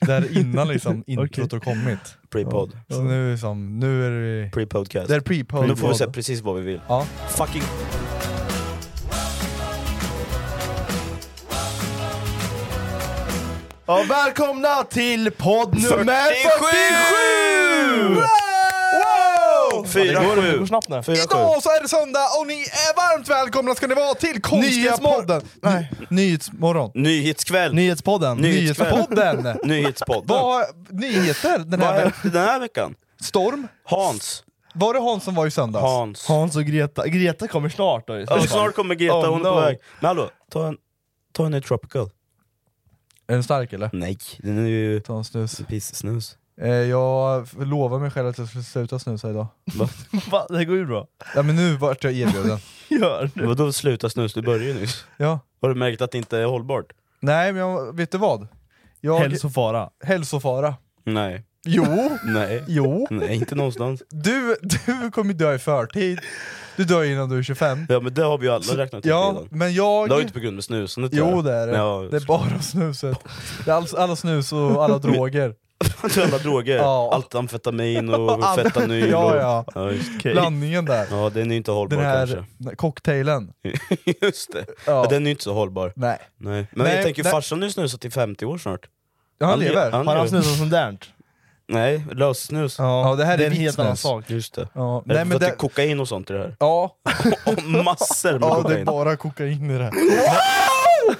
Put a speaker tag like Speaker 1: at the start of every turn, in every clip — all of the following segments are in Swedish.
Speaker 1: Där innan liksom introt
Speaker 2: Okej.
Speaker 1: har kommit.
Speaker 3: Pre-pod.
Speaker 1: Så nu, liksom, nu är vi...
Speaker 3: Pre-podcast.
Speaker 1: Det är pre-pod.
Speaker 3: Nu får vi säga precis vad vi vill.
Speaker 1: Ja.
Speaker 2: Ah,
Speaker 3: Fucking...
Speaker 2: Ja, välkomna till podd nummer 47!
Speaker 3: 47!
Speaker 2: Wow!
Speaker 3: Fyra,
Speaker 2: det går,
Speaker 3: sju.
Speaker 2: det går snabbt nu.
Speaker 3: Fyra, sju.
Speaker 2: Idag så är det söndag och ni är varmt välkomna ska ni vara till Konstgräspodden!
Speaker 1: Nej. Nyhetsmorgon.
Speaker 3: Nyhetskväll!
Speaker 1: Nyhetspodden.
Speaker 3: Nyhetskväll.
Speaker 1: Nyhetspodden.
Speaker 3: Nyhetspodden.
Speaker 1: Vad har nyheter den
Speaker 3: Vad
Speaker 1: här
Speaker 3: hände den här veckan?
Speaker 1: Storm?
Speaker 3: Hans.
Speaker 1: Var det Hans som var i söndags?
Speaker 3: Hans.
Speaker 2: Hans och Greta, Greta kommer snart då. i så
Speaker 3: Ja,
Speaker 2: fall.
Speaker 3: snart kommer Greta,
Speaker 2: Oh,
Speaker 3: hon är på
Speaker 2: no.
Speaker 3: väg. Men hallå, ta en, ta en ny tropical.
Speaker 1: Är den stark eller?
Speaker 3: Nej, den är ju
Speaker 1: Ta en snus.
Speaker 3: pissnus.
Speaker 1: Eh, jag lovar mig själv att jag skulle sluta snusa idag.
Speaker 2: Va, det här går ju bra.
Speaker 1: Ja men nu vart jag erbjuden.
Speaker 2: Gör nu.
Speaker 3: Vadå sluta snus? Du började ju nyss.
Speaker 1: Ja.
Speaker 3: Har du märkt att det inte är hållbart?
Speaker 1: Nej men jag, vet du vad? Jag,
Speaker 2: Hälsofara.
Speaker 1: hälsofara.
Speaker 3: Nej.
Speaker 1: Jo,
Speaker 3: Nej.
Speaker 1: jo.
Speaker 3: Nej, inte någonstans.
Speaker 1: Du, du kommer dö i förtid. Du dör innan du är 25.
Speaker 3: Ja men det har vi ju alla räknat ut
Speaker 1: Ja,
Speaker 3: redan.
Speaker 1: men jag...
Speaker 3: Det har ju inte på grund med snusandet att
Speaker 1: Jo
Speaker 3: göra.
Speaker 1: det är det.
Speaker 3: Ja,
Speaker 1: Det är bara snuset. Det är all, alla snus och alla droger.
Speaker 3: alla droger.
Speaker 1: Ja.
Speaker 3: Allt amfetamin och fentanyl.
Speaker 1: Ja, ja.
Speaker 3: Och... Ja, just.
Speaker 1: Blandningen där.
Speaker 3: ja, den är ju inte hållbar
Speaker 1: Den här
Speaker 3: kanske.
Speaker 1: cocktailen.
Speaker 3: Just det. Ja.
Speaker 1: Ja.
Speaker 3: den är ju inte så hållbar.
Speaker 1: Nej.
Speaker 3: Nej. Men
Speaker 1: Nej,
Speaker 3: jag tänker,
Speaker 1: nej.
Speaker 3: farsan har ju snusat i 50 år snart.
Speaker 1: Ja, han lever.
Speaker 3: han-
Speaker 2: Har han
Speaker 3: ju-
Speaker 2: snusat sånt där?
Speaker 3: Nej, lössnus.
Speaker 1: Ja, det här
Speaker 2: Det
Speaker 1: är,
Speaker 2: är en
Speaker 1: vitt
Speaker 2: helt annan
Speaker 1: snus.
Speaker 2: sak.
Speaker 3: Just det.
Speaker 1: Ja.
Speaker 3: Nej,
Speaker 1: Nej,
Speaker 3: för
Speaker 1: men
Speaker 3: att det
Speaker 1: det,
Speaker 3: är kokain och sånt i det här?
Speaker 1: ja.
Speaker 3: Och massor med
Speaker 1: ja, det är
Speaker 3: kokain.
Speaker 1: bara kokain i det här.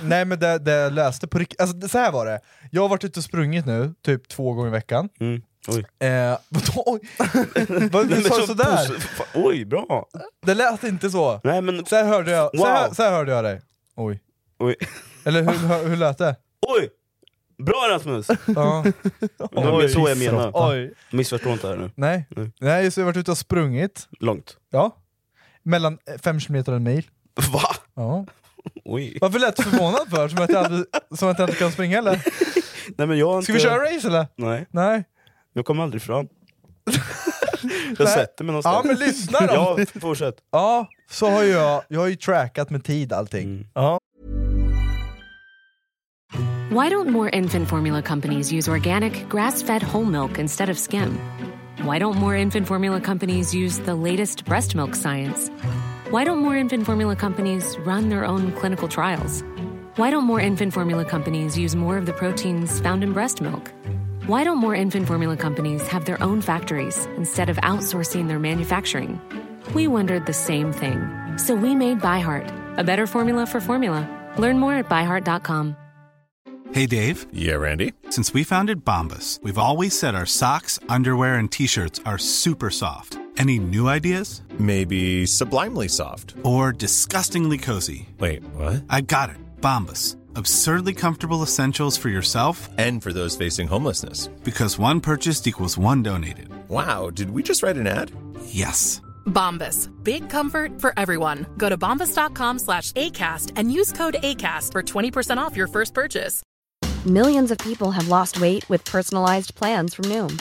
Speaker 1: Nej men det, det jag läste på riktigt, alltså det- så här var det. Jag har varit ute och sprungit nu, typ två gånger i veckan.
Speaker 3: Mm. Oj.
Speaker 1: Eh, vadå? Oj.
Speaker 3: Den
Speaker 1: Vad du
Speaker 3: är
Speaker 1: sa
Speaker 3: så
Speaker 1: sådär?
Speaker 3: posi- Fan, Oj, bra!
Speaker 1: Det lät inte så.
Speaker 3: Nej men,
Speaker 1: Så här hörde jag, så här,
Speaker 3: Wow.
Speaker 1: så här hörde jag dig. Oj.
Speaker 3: oj!
Speaker 1: Eller hur, hur, hur lät det?
Speaker 3: Oj! Bra Rasmus!
Speaker 1: Ja.
Speaker 3: Det var så jag menar.
Speaker 2: Oj.
Speaker 3: Missförstå inte här nu.
Speaker 1: Nej.
Speaker 3: Nej.
Speaker 1: Nej, just det, jag har varit ute och sprungit.
Speaker 3: Långt.
Speaker 1: Ja. Mellan 5 km och en mil.
Speaker 3: Va?
Speaker 1: Ja.
Speaker 3: Oj.
Speaker 1: Varför lät du förvånad för? Som att jag, aldrig, som att jag inte kan springa eller?
Speaker 3: Nej men jag har inte...
Speaker 1: Ska vi köra race eller?
Speaker 3: Nej,
Speaker 1: Nej.
Speaker 3: jag kommer aldrig fram. jag
Speaker 1: Nej.
Speaker 3: sätter mig någonstans.
Speaker 1: Ja, men lyssna då.
Speaker 3: Ja, fortsätt.
Speaker 1: Ja, så har ju jag, jag har ju trackat med tid allting.
Speaker 3: Mm.
Speaker 2: Ja.
Speaker 4: Why don't more infant formula companies use organic, grass fed whole milk instead of skim? Why don't more infant formula companies use the latest breast milk science? Why don't more infant formula companies run their own clinical trials? Why don't more infant formula companies use more of the proteins found in breast milk? Why don't more infant formula companies have their own factories instead of outsourcing their manufacturing? We wondered the same thing. So we made ByHeart, a better formula for formula. Learn more at byheart.com.
Speaker 5: Hey Dave,
Speaker 6: Yeah, Randy.
Speaker 5: since we founded Bombus, we've always said our socks, underwear, and t shirts are super soft. Any new ideas?
Speaker 6: Maybe sublimely soft.
Speaker 5: Or disgustingly cozy?
Speaker 6: Wait, what?
Speaker 5: I got it, Bombus. Absurdly comfortable essentials for yourself
Speaker 6: And for those facing homelessness.
Speaker 5: because one purchased equals one donated.
Speaker 6: Wow, did we just write an ad?
Speaker 5: Yes.
Speaker 7: Bombas. Big comfort for everyone. Go to bombas.com slash ACAST and use code ACAST for 20% off your first purchase.
Speaker 8: Millions of people have lost weight with personalized plans from Noom,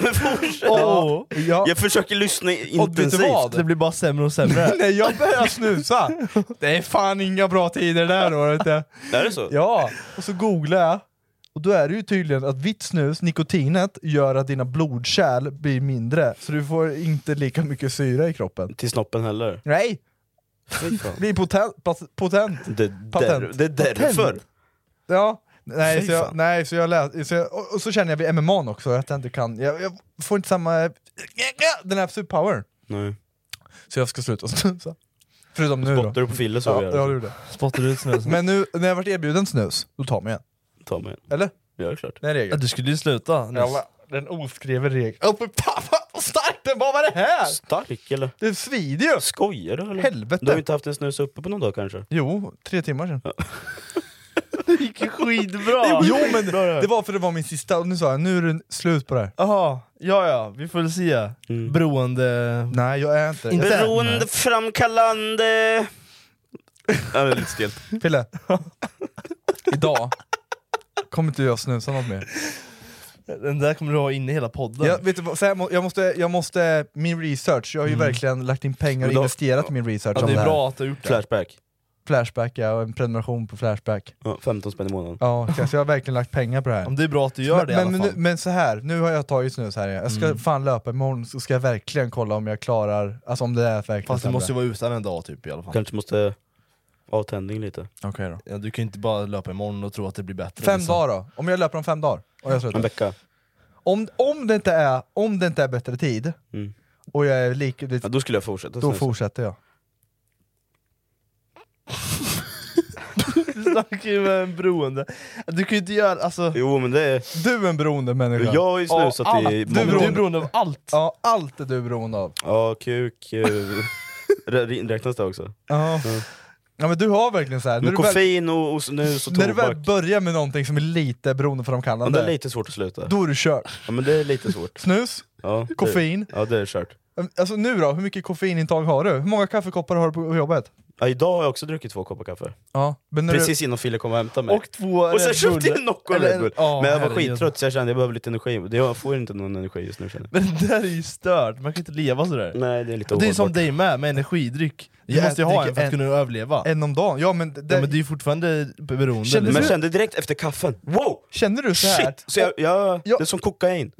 Speaker 3: Men fortsätt!
Speaker 1: Åh, ja.
Speaker 3: Jag försöker lyssna
Speaker 1: Och vet du
Speaker 3: intensivt.
Speaker 1: vad?
Speaker 2: Det blir bara sämre och sämre.
Speaker 1: Nej, jag börjar snusa! Det är fan inga bra tider där då, vet du.
Speaker 3: Är det så?
Speaker 1: Ja, och så googlade jag. Och då är det ju tydligen att vitt snus, nikotinet, gör att dina blodkärl blir mindre. Så du får inte lika mycket syra i kroppen.
Speaker 3: Till snoppen heller.
Speaker 1: Nej!
Speaker 3: Fy fan.
Speaker 1: Blir potent. pat- potent.
Speaker 3: Det, är där,
Speaker 1: Patent.
Speaker 3: det är därför.
Speaker 1: Patent. Ja. Nej,
Speaker 3: Fy
Speaker 1: så
Speaker 3: fan.
Speaker 1: jag, nej, så jag läste... Så jag, och, och så känner jag vid MMA också, att jag inte kan... Jag, jag får inte samma... Den här superpowern.
Speaker 3: Nej.
Speaker 1: Så jag ska sluta snusa. Förutom nu
Speaker 3: Spottar du på Fille så gör
Speaker 1: ja, gör
Speaker 3: du.
Speaker 1: jag gjorde.
Speaker 3: Spottar du ut snus?
Speaker 1: Men nu när jag varit erbjuden snus, då tar man igen.
Speaker 3: Ta mig.
Speaker 1: Eller?
Speaker 3: Ja, det är klart.
Speaker 1: Det är en regel.
Speaker 3: Ja, du skulle ju sluta. nyss.
Speaker 1: Ja, den oskriven regeln. Åh fy fan vad stark den var! Vad är det här?
Speaker 3: Stark eller?
Speaker 1: Det svider ju!
Speaker 3: Skojar du eller?
Speaker 1: Helvete.
Speaker 3: Du har ju inte haft en snus uppe på någon dag kanske?
Speaker 1: Jo, tre timmar sedan.
Speaker 3: Det gick ju skitbra!
Speaker 1: Jo men det var för det var min sista, och nu sa jag nu är det slut på det här.
Speaker 2: Jaha, ja ja, vi får väl se.
Speaker 1: Mm.
Speaker 2: Beroende...
Speaker 1: Nej jag är inte
Speaker 2: Inte?
Speaker 3: Beroendeframkallande... ja, det är lite stelt.
Speaker 1: Pille, idag kommer inte jag snusa något mer.
Speaker 2: Den där kommer du ha inne i hela podden.
Speaker 1: Jag, vet du, vad, så här, må- jag, måste, jag måste, min research, jag har ju verkligen lagt in pengar och
Speaker 3: Men då-
Speaker 1: investerat i min research
Speaker 2: Mm. ja,
Speaker 1: om
Speaker 2: det
Speaker 1: det
Speaker 2: är
Speaker 1: här.
Speaker 2: bra att du har gjort det.
Speaker 3: Flashback.
Speaker 1: Flashback ja, och en prenumeration på Flashback.
Speaker 3: Ja, 15 spänn i månaden.
Speaker 1: Ja, okej, så jag har verkligen lagt pengar på det här.
Speaker 2: Om det är bra att du gör
Speaker 1: men,
Speaker 2: det i
Speaker 1: men,
Speaker 2: alla
Speaker 1: men,
Speaker 2: fall. Mm.
Speaker 1: nu- men så här, nu har jag tagit snus här igen. Jag ska fan löpa imorgon så ska jag verkligen kolla om jag klarar, alltså om det är verkligen
Speaker 2: Fast du
Speaker 1: sämre.
Speaker 2: måste ju vara utan en dag typ i alla fall.
Speaker 3: Kanske måste av tändning lite.
Speaker 1: Okej då.
Speaker 2: Ja, du kan ju inte bara löpa imorgon och tro att det blir bättre.
Speaker 1: Fem
Speaker 2: liksom.
Speaker 1: dagar då? Om jag löper om fem dagar? Och jag
Speaker 3: En
Speaker 1: slutar.
Speaker 3: vecka.
Speaker 1: om, om, det inte är, om det inte är bättre tid,
Speaker 3: Mm.
Speaker 1: och jag är lik,
Speaker 3: Ja, då skulle jag fortsätta
Speaker 1: då
Speaker 3: snusa.
Speaker 1: fortsätter jag.
Speaker 2: Du snackar ju med en beroende. Du kan ju inte göra... Alltså,
Speaker 3: Jo men det är...
Speaker 1: Du är en beroende människa.
Speaker 3: Jag har ju snusat
Speaker 2: allt.
Speaker 3: i
Speaker 2: du, är
Speaker 3: många
Speaker 2: beroende. du är
Speaker 3: år.
Speaker 2: beroende av allt.
Speaker 1: Ja, allt är du beroende av.
Speaker 3: Ja, kuk... eh, rä- Räknas det också?
Speaker 1: Ja. ja men du har verkligen så här. när
Speaker 3: Men
Speaker 1: du väl,
Speaker 3: koffein och, och snus och
Speaker 1: när du väl
Speaker 3: tobak.
Speaker 1: börjar med någonting som är lite
Speaker 3: Ja, det är
Speaker 1: beroendeframkallande,
Speaker 3: lite svårt att sluta.
Speaker 1: då är du kört.
Speaker 3: Ja men det är lite svårt.
Speaker 1: Snus,
Speaker 3: Ja, det-
Speaker 1: koffein.
Speaker 3: Ja det är kört.
Speaker 1: Alltså nu då, hur mycket koffeinintag har du? Hur många kaffekoppar har du på jobbet?
Speaker 3: Ja, idag har jag också druckit två koppar kaffe.
Speaker 1: Ja, men när
Speaker 3: Precis innan Fille kom och hämtade mig.
Speaker 2: Och två
Speaker 3: Och sen
Speaker 2: Red
Speaker 3: köpte
Speaker 2: Bull.
Speaker 3: jag en Nocco
Speaker 2: Eller
Speaker 3: Red
Speaker 2: en-
Speaker 3: Bull.
Speaker 2: Ja,
Speaker 3: Men jag var
Speaker 2: herregud.
Speaker 3: skittrött så jag kände jag behöver lite energi. Det- Jag får inte någon energi just nu känner jag.
Speaker 2: Men det där är ju stört, man kan inte leva sådär.
Speaker 3: Nej det är lite
Speaker 2: det är
Speaker 3: ohållbart.
Speaker 2: som dig med, med energidryck. Du
Speaker 1: Jag
Speaker 2: måste ju ha
Speaker 1: dricker
Speaker 2: en för att
Speaker 1: en-
Speaker 2: kunna överleva.
Speaker 1: du, en om dagen? Ja men, det,
Speaker 2: ja, men du är ju fortfarande beroende.
Speaker 1: Känner
Speaker 2: liksom.
Speaker 3: Men jag kände direkt efter kaffen, wow!
Speaker 1: känner du så här?
Speaker 3: Shit! Så jag, jag,
Speaker 1: Ja.
Speaker 3: Det är som kokain.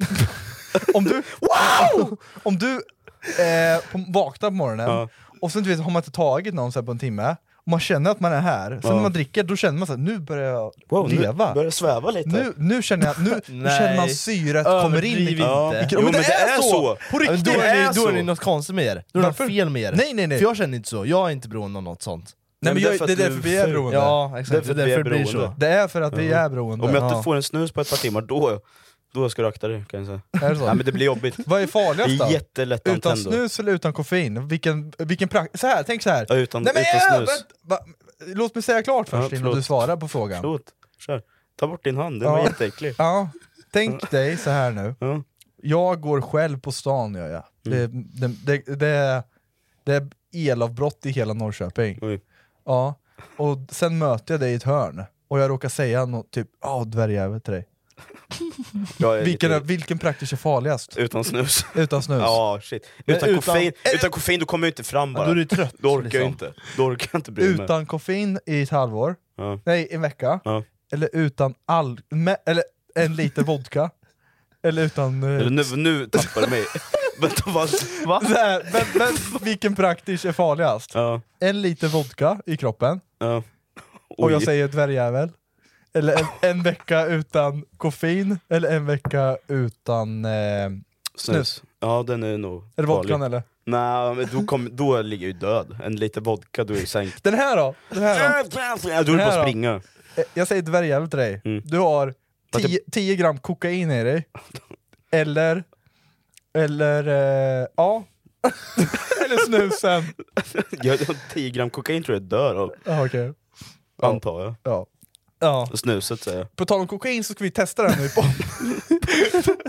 Speaker 1: Om du, wow! om du eh, på, vaknar på morgonen
Speaker 3: Ja.
Speaker 1: och sen du vet, har man inte tagit någon så här på en timme, och man känner att man är här, sen
Speaker 3: Ja.
Speaker 1: när man dricker då känner man så här, nu börjar jag
Speaker 3: Wow, nu
Speaker 1: leva.
Speaker 3: börjar jag sväva lite.
Speaker 1: Nu, nu känner jag, nu, nu
Speaker 2: Nej.
Speaker 1: känner man syret kommer in i
Speaker 2: Överdriv
Speaker 1: Ja,
Speaker 2: inte.
Speaker 1: Jo, men, det, är så! På
Speaker 2: Ja, men
Speaker 1: riktigt!
Speaker 2: då
Speaker 1: det
Speaker 2: är,
Speaker 1: är
Speaker 2: ni, då
Speaker 1: så.
Speaker 2: är det något konstigt med er, då är det något
Speaker 1: Varför?
Speaker 2: fel med er.
Speaker 1: Nej, nej, nej.
Speaker 2: För jag känner inte så, jag är inte beroende av något sånt.
Speaker 1: Nej, men jag,
Speaker 3: därför
Speaker 1: det är
Speaker 3: att du
Speaker 1: därför vi är
Speaker 3: ful.
Speaker 1: beroende.
Speaker 2: Ja, exakt.
Speaker 3: Därför
Speaker 2: det är därför det
Speaker 3: vi är
Speaker 2: blir så.
Speaker 3: beroende.
Speaker 1: Det är för att vi är beroende.
Speaker 3: Om jag inte
Speaker 1: Ja.
Speaker 3: får en snus på ett par timmar, då, då ska du akta dig kan jag säga.
Speaker 1: Är det så?
Speaker 3: Nej men det blir jobbigt.
Speaker 1: Vad är
Speaker 3: Det
Speaker 1: farligast då?
Speaker 3: är jättelätt
Speaker 1: Utan
Speaker 3: antänd då.
Speaker 1: snus eller utan koffein? Vilken, vilken pra- så här, tänk så här.
Speaker 3: Ja, utan,
Speaker 1: Nej, men
Speaker 3: utan
Speaker 1: jag-
Speaker 3: snus.
Speaker 1: vänta, va, låt mig säga klart först innan
Speaker 3: förlåt.
Speaker 1: du svarar på frågan.
Speaker 3: Förlåt, kör. Ta bort din hand, den var
Speaker 1: Ja.
Speaker 3: jätteäcklig.
Speaker 1: Ja, tänk dig så här nu.
Speaker 3: Ja. Mm.
Speaker 1: Jag går själv på stan gör jag. Det, det, det, det, är- det är elavbrott i hela Norrköping.
Speaker 3: Oj.
Speaker 1: Ja. Och sen möter jag dig i ett hörn och jag råkar säga något typ ja dvärgjävel till dig.
Speaker 3: Jag är
Speaker 1: Vilken, är-
Speaker 3: lite,
Speaker 1: vilken praktisk är farligast?
Speaker 3: utan snus.
Speaker 1: Utan snus?
Speaker 3: Ja, shit. Utan,
Speaker 2: utan-
Speaker 3: koffein, utan koffein då kommer jag inte fram bara.
Speaker 2: då är du trött,
Speaker 3: Då orkar jag
Speaker 2: liksom.
Speaker 3: inte. Då orkar jag inte bry mig.
Speaker 1: utan koffein i ett halvår?
Speaker 3: Ja.
Speaker 1: Nej, en vecka?
Speaker 3: Ja.
Speaker 1: Eller utan all... Med, eller en liter vodka? eller utan... eh,
Speaker 3: Eller nu, nu tappar du mig. Vänta, vad? Va?
Speaker 1: så här, men, men, vilken praktisk är farligast?
Speaker 3: Ja,
Speaker 1: En liter vodka i kroppen,
Speaker 3: ja.
Speaker 1: och jag
Speaker 3: Oj.
Speaker 1: säger dvärgjävel. Eller en, en vecka utan koffein, eller en vecka utan... Eh, snus.
Speaker 3: Ja, den är nog
Speaker 1: är det vodkan
Speaker 3: farlig.
Speaker 1: eller?
Speaker 3: Nej, men då, kom, då ligger jag ju död. En liten vodka, då är jag ju sänkt.
Speaker 1: Den här då? Den här då?
Speaker 3: Ja, Då är det bara
Speaker 1: Den här
Speaker 3: att
Speaker 1: då?
Speaker 3: springa.
Speaker 1: Eh, Jag säger dvärgjävel till dig.
Speaker 3: Mm.
Speaker 1: Du har
Speaker 3: Fast jag-
Speaker 1: 10 10 gram kokain i dig. Eller... Eller... Eh, ja. eller snusen.
Speaker 3: Jag jag har 10 gram kokain tror jag dör av,
Speaker 1: Ja, okej.
Speaker 3: antar jag.
Speaker 1: Ja. Ja.
Speaker 3: Snuset säger jag.
Speaker 1: På tal om kokain så ska vi testa den nu. på-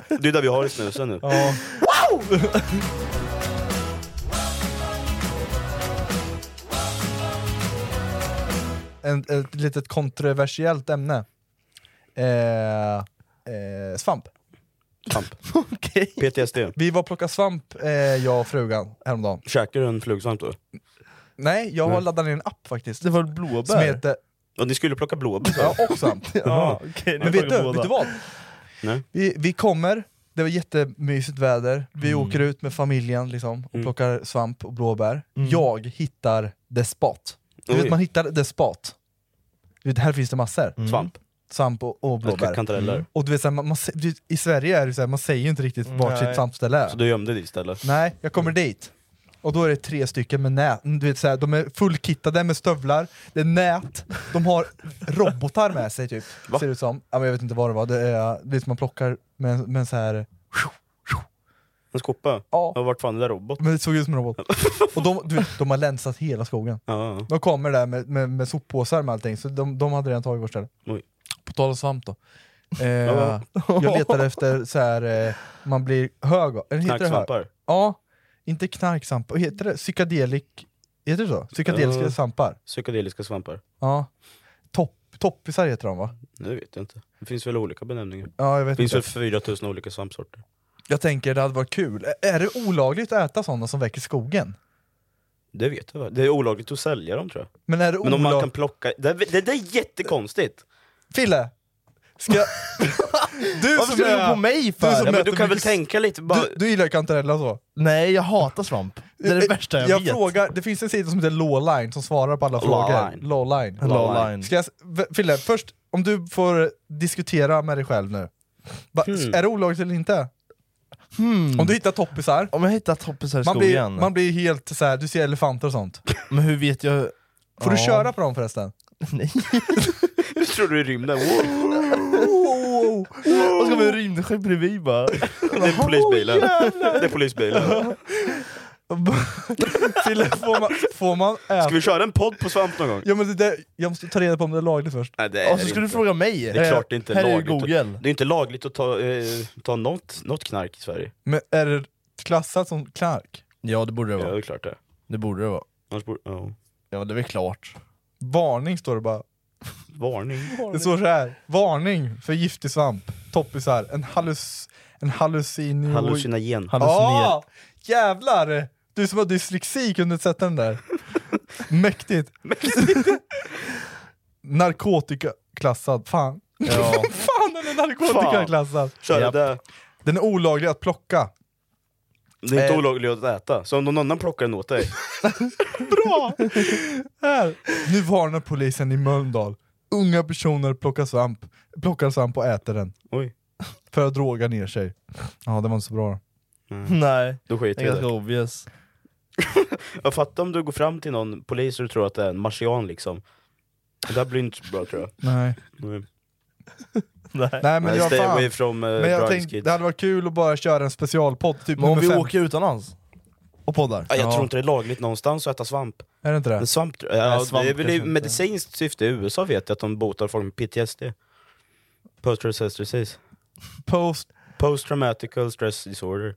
Speaker 3: Det är där vi har i snusen nu.
Speaker 1: ja. en, ett litet kontroversiellt ämne. Eh, eh, svamp.
Speaker 3: Svamp. PTSD.
Speaker 1: Vi var och plockade svamp, eh, jag och frugan, häromdagen.
Speaker 3: Käkar du en flugsvamp då?
Speaker 1: Nej, jag har laddat ner en app faktiskt.
Speaker 2: Mm. Det var
Speaker 1: som
Speaker 2: blåbär?
Speaker 1: heter
Speaker 3: Ja, ni skulle plocka blåbär.
Speaker 1: ja, och svamp.
Speaker 2: Ja, okej,
Speaker 1: Men
Speaker 2: nu tar
Speaker 1: vet du,
Speaker 2: vi båda.
Speaker 1: vet du vad?
Speaker 3: Nej.
Speaker 1: Vi, vi kommer, det var jättemysigt väder, vi
Speaker 2: Mm.
Speaker 1: åker ut med familjen liksom, och plockar svamp och blåbär.
Speaker 2: Mm.
Speaker 1: Jag hittar The Spot. Du
Speaker 3: Oj.
Speaker 1: vet, man hittar The Spot. Du vet, här finns det massor.
Speaker 2: Mm.
Speaker 3: Svamp.
Speaker 1: Svamp och, och blåbär. Mm.
Speaker 3: Kantareller.
Speaker 1: Och du vet, så här, man, man, sä- du vet, I Sverige är det så här, man säger ju inte riktigt vart
Speaker 2: Nej.
Speaker 1: sitt svampställe är.
Speaker 3: Så du gömde dig istället?
Speaker 1: Nej, jag kommer dit. Och då är det tre stycken med nät, du vet, så här, de är fullkittade med stövlar, det är nät, de har robotar med sig typ. Ser det ut som. Ja, men jag vet inte vad det var, det är, det är som man plockar med, en- med en så här
Speaker 3: En skopa? Ja. Vart fan är det där robot?
Speaker 1: Men det såg ut som en robot. Och de, du vet, de har länsat hela skogen.
Speaker 3: Ja.
Speaker 1: De kommer där med, med, med soppåsar med allting, så de, de hade redan tagit vårt ställe.
Speaker 3: Oj.
Speaker 1: På tal om svamp då. Eh,
Speaker 3: Ja.
Speaker 1: jag letade efter så här eh, man blir hög av. eller heter det hög?
Speaker 3: Knarksvampar?
Speaker 1: Ja, inte knarksvampar. Heter det psykedelik? Heter det så? Psykedeliska
Speaker 3: Ja.
Speaker 1: svampar?
Speaker 3: Psykedeliska svampar?
Speaker 1: Ja. Topp, toppisar heter de va?
Speaker 3: Nu vet jag inte. Det finns väl olika benämningar?
Speaker 1: Ja, jag vet
Speaker 3: det finns
Speaker 1: inte.
Speaker 3: väl 4000 olika svampsorter?
Speaker 1: Jag tänker det hade varit kul. Ä- Är det olagligt att äta sådana som väcker skogen?
Speaker 3: Det vet jag va? Det är olagligt att sälja dem tror jag.
Speaker 1: Men är det
Speaker 3: Men om man
Speaker 1: olag-
Speaker 3: kan plocka... Det, det, det är jättekonstigt!
Speaker 1: Fille! Ska... du
Speaker 3: Varför ska du gå på mig för? Ja, men
Speaker 1: äter
Speaker 3: du kan väl
Speaker 1: mycket-
Speaker 3: tänka lite bara...
Speaker 1: Du, du gillar kantarella och så?
Speaker 2: Nej, jag hatar svamp. Det är det värsta jag, vet.
Speaker 1: Frågar, det finns en sida som heter Lawline som svarar på alla frågor.
Speaker 3: Lawline.
Speaker 1: Lawline.
Speaker 2: Lawline.
Speaker 1: Ska jag, s- v- Fille, först om du får diskutera med dig själv nu. Va,
Speaker 2: Hmm.
Speaker 1: Är det olagligt eller inte? Om du hittar toppisar,
Speaker 2: Om jag hittar toppisar i
Speaker 1: man blir,
Speaker 2: skogen,
Speaker 1: man blir helt så här, du ser elefanter och sånt.
Speaker 2: men hur vet jag...
Speaker 1: Får du
Speaker 2: Ja.
Speaker 1: köra på dem förresten?
Speaker 3: Du tror du är i rymden? Wow.
Speaker 2: Och så kommer en rymdskepp bredvid bara.
Speaker 3: Det är polisbilen. det är polisbilen.
Speaker 1: Fille, får man, får man äta?
Speaker 3: Ska vi köra en podd på svamp någon gång?
Speaker 1: Ja, men det där, jag måste ta reda på om det är lagligt först.
Speaker 3: Nej, det är
Speaker 2: Och så
Speaker 3: det
Speaker 2: ska du
Speaker 3: inte.
Speaker 2: fråga mig!
Speaker 3: Det är klart det inte är
Speaker 2: Här är ju
Speaker 3: lagligt.
Speaker 2: google.
Speaker 3: Att, det är inte lagligt att ta, eh, ta något, något knark i Sverige.
Speaker 1: Men är det klassat som knark?
Speaker 2: Ja det borde det
Speaker 3: Ja, det
Speaker 2: vara.
Speaker 3: är klart det.
Speaker 2: Det borde det vara.
Speaker 3: Annars borde... Ja.
Speaker 2: Ja det är väl klart.
Speaker 1: Varning står det bara.
Speaker 3: Varning.
Speaker 1: Det står så här. varning för giftig svamp, toppisar, en halluc... En hallucinio...
Speaker 3: Hallucinogen.
Speaker 1: Ja! Jävlar! Du som har dyslexi kunde sätta den där. Mäktigt. narkotikaklassad, fan.
Speaker 2: Ja.
Speaker 1: Fan den är narkotikaklassad!
Speaker 3: Kör
Speaker 2: Japp.
Speaker 3: det.
Speaker 1: Den är olaglig att plocka.
Speaker 3: Det är inte
Speaker 1: Eh.
Speaker 3: olagligt att äta. Så om någon annan plockar den åt dig.
Speaker 1: Här. Nu varnar polisen i Mölndal. Unga personer plockar svamp, plockar svamp och äter den.
Speaker 3: Oj.
Speaker 1: För att droga ner sig. Ja, det var inte så bra.
Speaker 2: Nej,
Speaker 3: Då
Speaker 2: det
Speaker 3: skiter
Speaker 2: är
Speaker 3: jag i
Speaker 2: ganska
Speaker 3: det.
Speaker 2: obvious.
Speaker 3: Jag fattar om du går fram till någon polis och du tror att det är en marsian liksom. Det här blir inte så bra tror jag.
Speaker 1: Nej.
Speaker 3: Mm.
Speaker 2: Nej.
Speaker 1: Nej men
Speaker 3: Men
Speaker 1: jag
Speaker 3: Stay away
Speaker 1: fan.
Speaker 3: from uh,
Speaker 1: Men jag
Speaker 3: drugs
Speaker 1: tänkte,
Speaker 3: kids.
Speaker 1: det hade varit kul att bara köra en specialpodd, typ
Speaker 2: Men om
Speaker 1: nummer
Speaker 2: vi
Speaker 1: fem.
Speaker 2: åker utomlands och poddar.
Speaker 3: Ja, jag
Speaker 1: Ja.
Speaker 3: tror inte det är lagligt någonstans att äta svamp.
Speaker 1: Är det inte det?
Speaker 3: Men svamp, tror- ja,
Speaker 2: Nej, svamp
Speaker 3: det är väl i
Speaker 2: kanske inte.
Speaker 3: medicinskt syfte i USA vet jag att de botar folk med PTSD. Post-traumatic disease.
Speaker 1: Post...
Speaker 3: Post-traumatical stress disorder.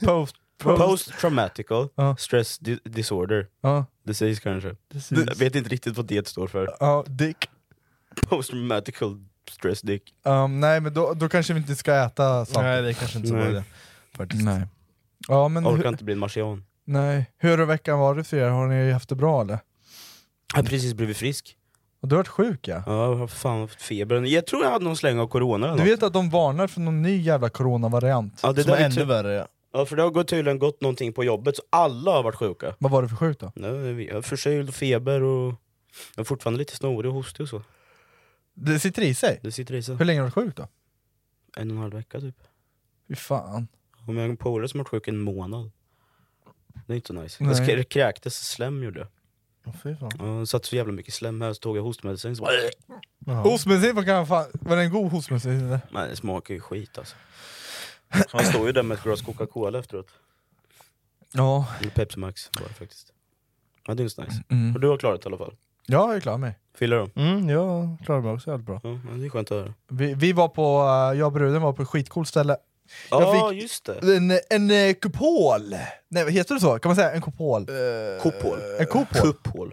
Speaker 1: Post... Post...
Speaker 3: Post-traumatical
Speaker 1: Ja.
Speaker 3: stress di- disorder.
Speaker 1: Ja.
Speaker 3: Disease kanske.
Speaker 1: Disease.
Speaker 3: Jag vet inte riktigt vad det står för.
Speaker 1: Ja, dick.
Speaker 3: Post-traumatical stress dick.
Speaker 1: Um, nej men då, då kanske vi inte ska äta svamp.
Speaker 2: Nej det är kanske inte så bra
Speaker 3: Nej.
Speaker 2: idé. Faktiskt.
Speaker 1: Nej. Ja men...
Speaker 3: Orkar
Speaker 1: Hur,
Speaker 3: inte bli en marsian.
Speaker 1: nej. Hur har veckan varit för er? Har ni haft det bra eller?
Speaker 3: Jag har precis blivit frisk.
Speaker 1: Och Du har varit sjuk ja?
Speaker 3: Ja, jag har fan haft feber. Jag tror jag hade någon släng av corona eller
Speaker 1: Du
Speaker 3: något.
Speaker 1: vet att de varnar för någon ny jävla coronavariant?
Speaker 3: Ja, det
Speaker 2: Som
Speaker 3: där
Speaker 2: är
Speaker 3: är
Speaker 2: ännu
Speaker 3: ty-
Speaker 2: värre ja.
Speaker 3: ja, för det har gått- tydligen gått någonting på jobbet, så alla har varit sjuka.
Speaker 1: Vad var det för sjukt då?
Speaker 3: Nej, jag har förkyld, feber och... Jag är fortfarande lite snorig och hostig och så.
Speaker 1: Det sitter i sig?
Speaker 3: Det sitter i sig.
Speaker 1: Hur länge har du varit sjuk då?
Speaker 3: En och en halv vecka typ.
Speaker 1: Fy fan.
Speaker 3: Och jag har en polare som har varit sjuk en månad. Det är inte så nice.
Speaker 1: Nej.
Speaker 3: Jag sk- kräktes slem gjorde jag.
Speaker 2: Åh, fy fan.
Speaker 3: Ja, Det satt så jävla mycket slem här, så tog jag hostmedicin så bara...
Speaker 2: Jaha.
Speaker 1: Hostmedicin, vad kan fan... Var det en god hostmedicin eller?
Speaker 3: Nej, det smakar ju skit alltså. Han står ju där med ett glas Coca-Cola efteråt.
Speaker 1: Ja.
Speaker 3: Eller Pepsi Max var det faktiskt. Ja, det är inte så nice.
Speaker 1: Mm.
Speaker 3: Och du har klarat det i alla fall.
Speaker 1: Ja, jag klarar mig.
Speaker 3: Fyller du?
Speaker 2: Mm, jag klarar mig också jävligt bra.
Speaker 3: Ja,
Speaker 1: Mm.
Speaker 3: ja, det är skönt att höra.
Speaker 1: Vi, vi var på, eh, jag och bruden var på ett skitcoolt ställe. Jag
Speaker 3: Ja,
Speaker 1: fick-
Speaker 3: just det.
Speaker 1: En, en eh, kupol! Nej vad heter det så? Kan man säga en kupol?
Speaker 3: Kupol.
Speaker 2: Eh,
Speaker 1: en kupol?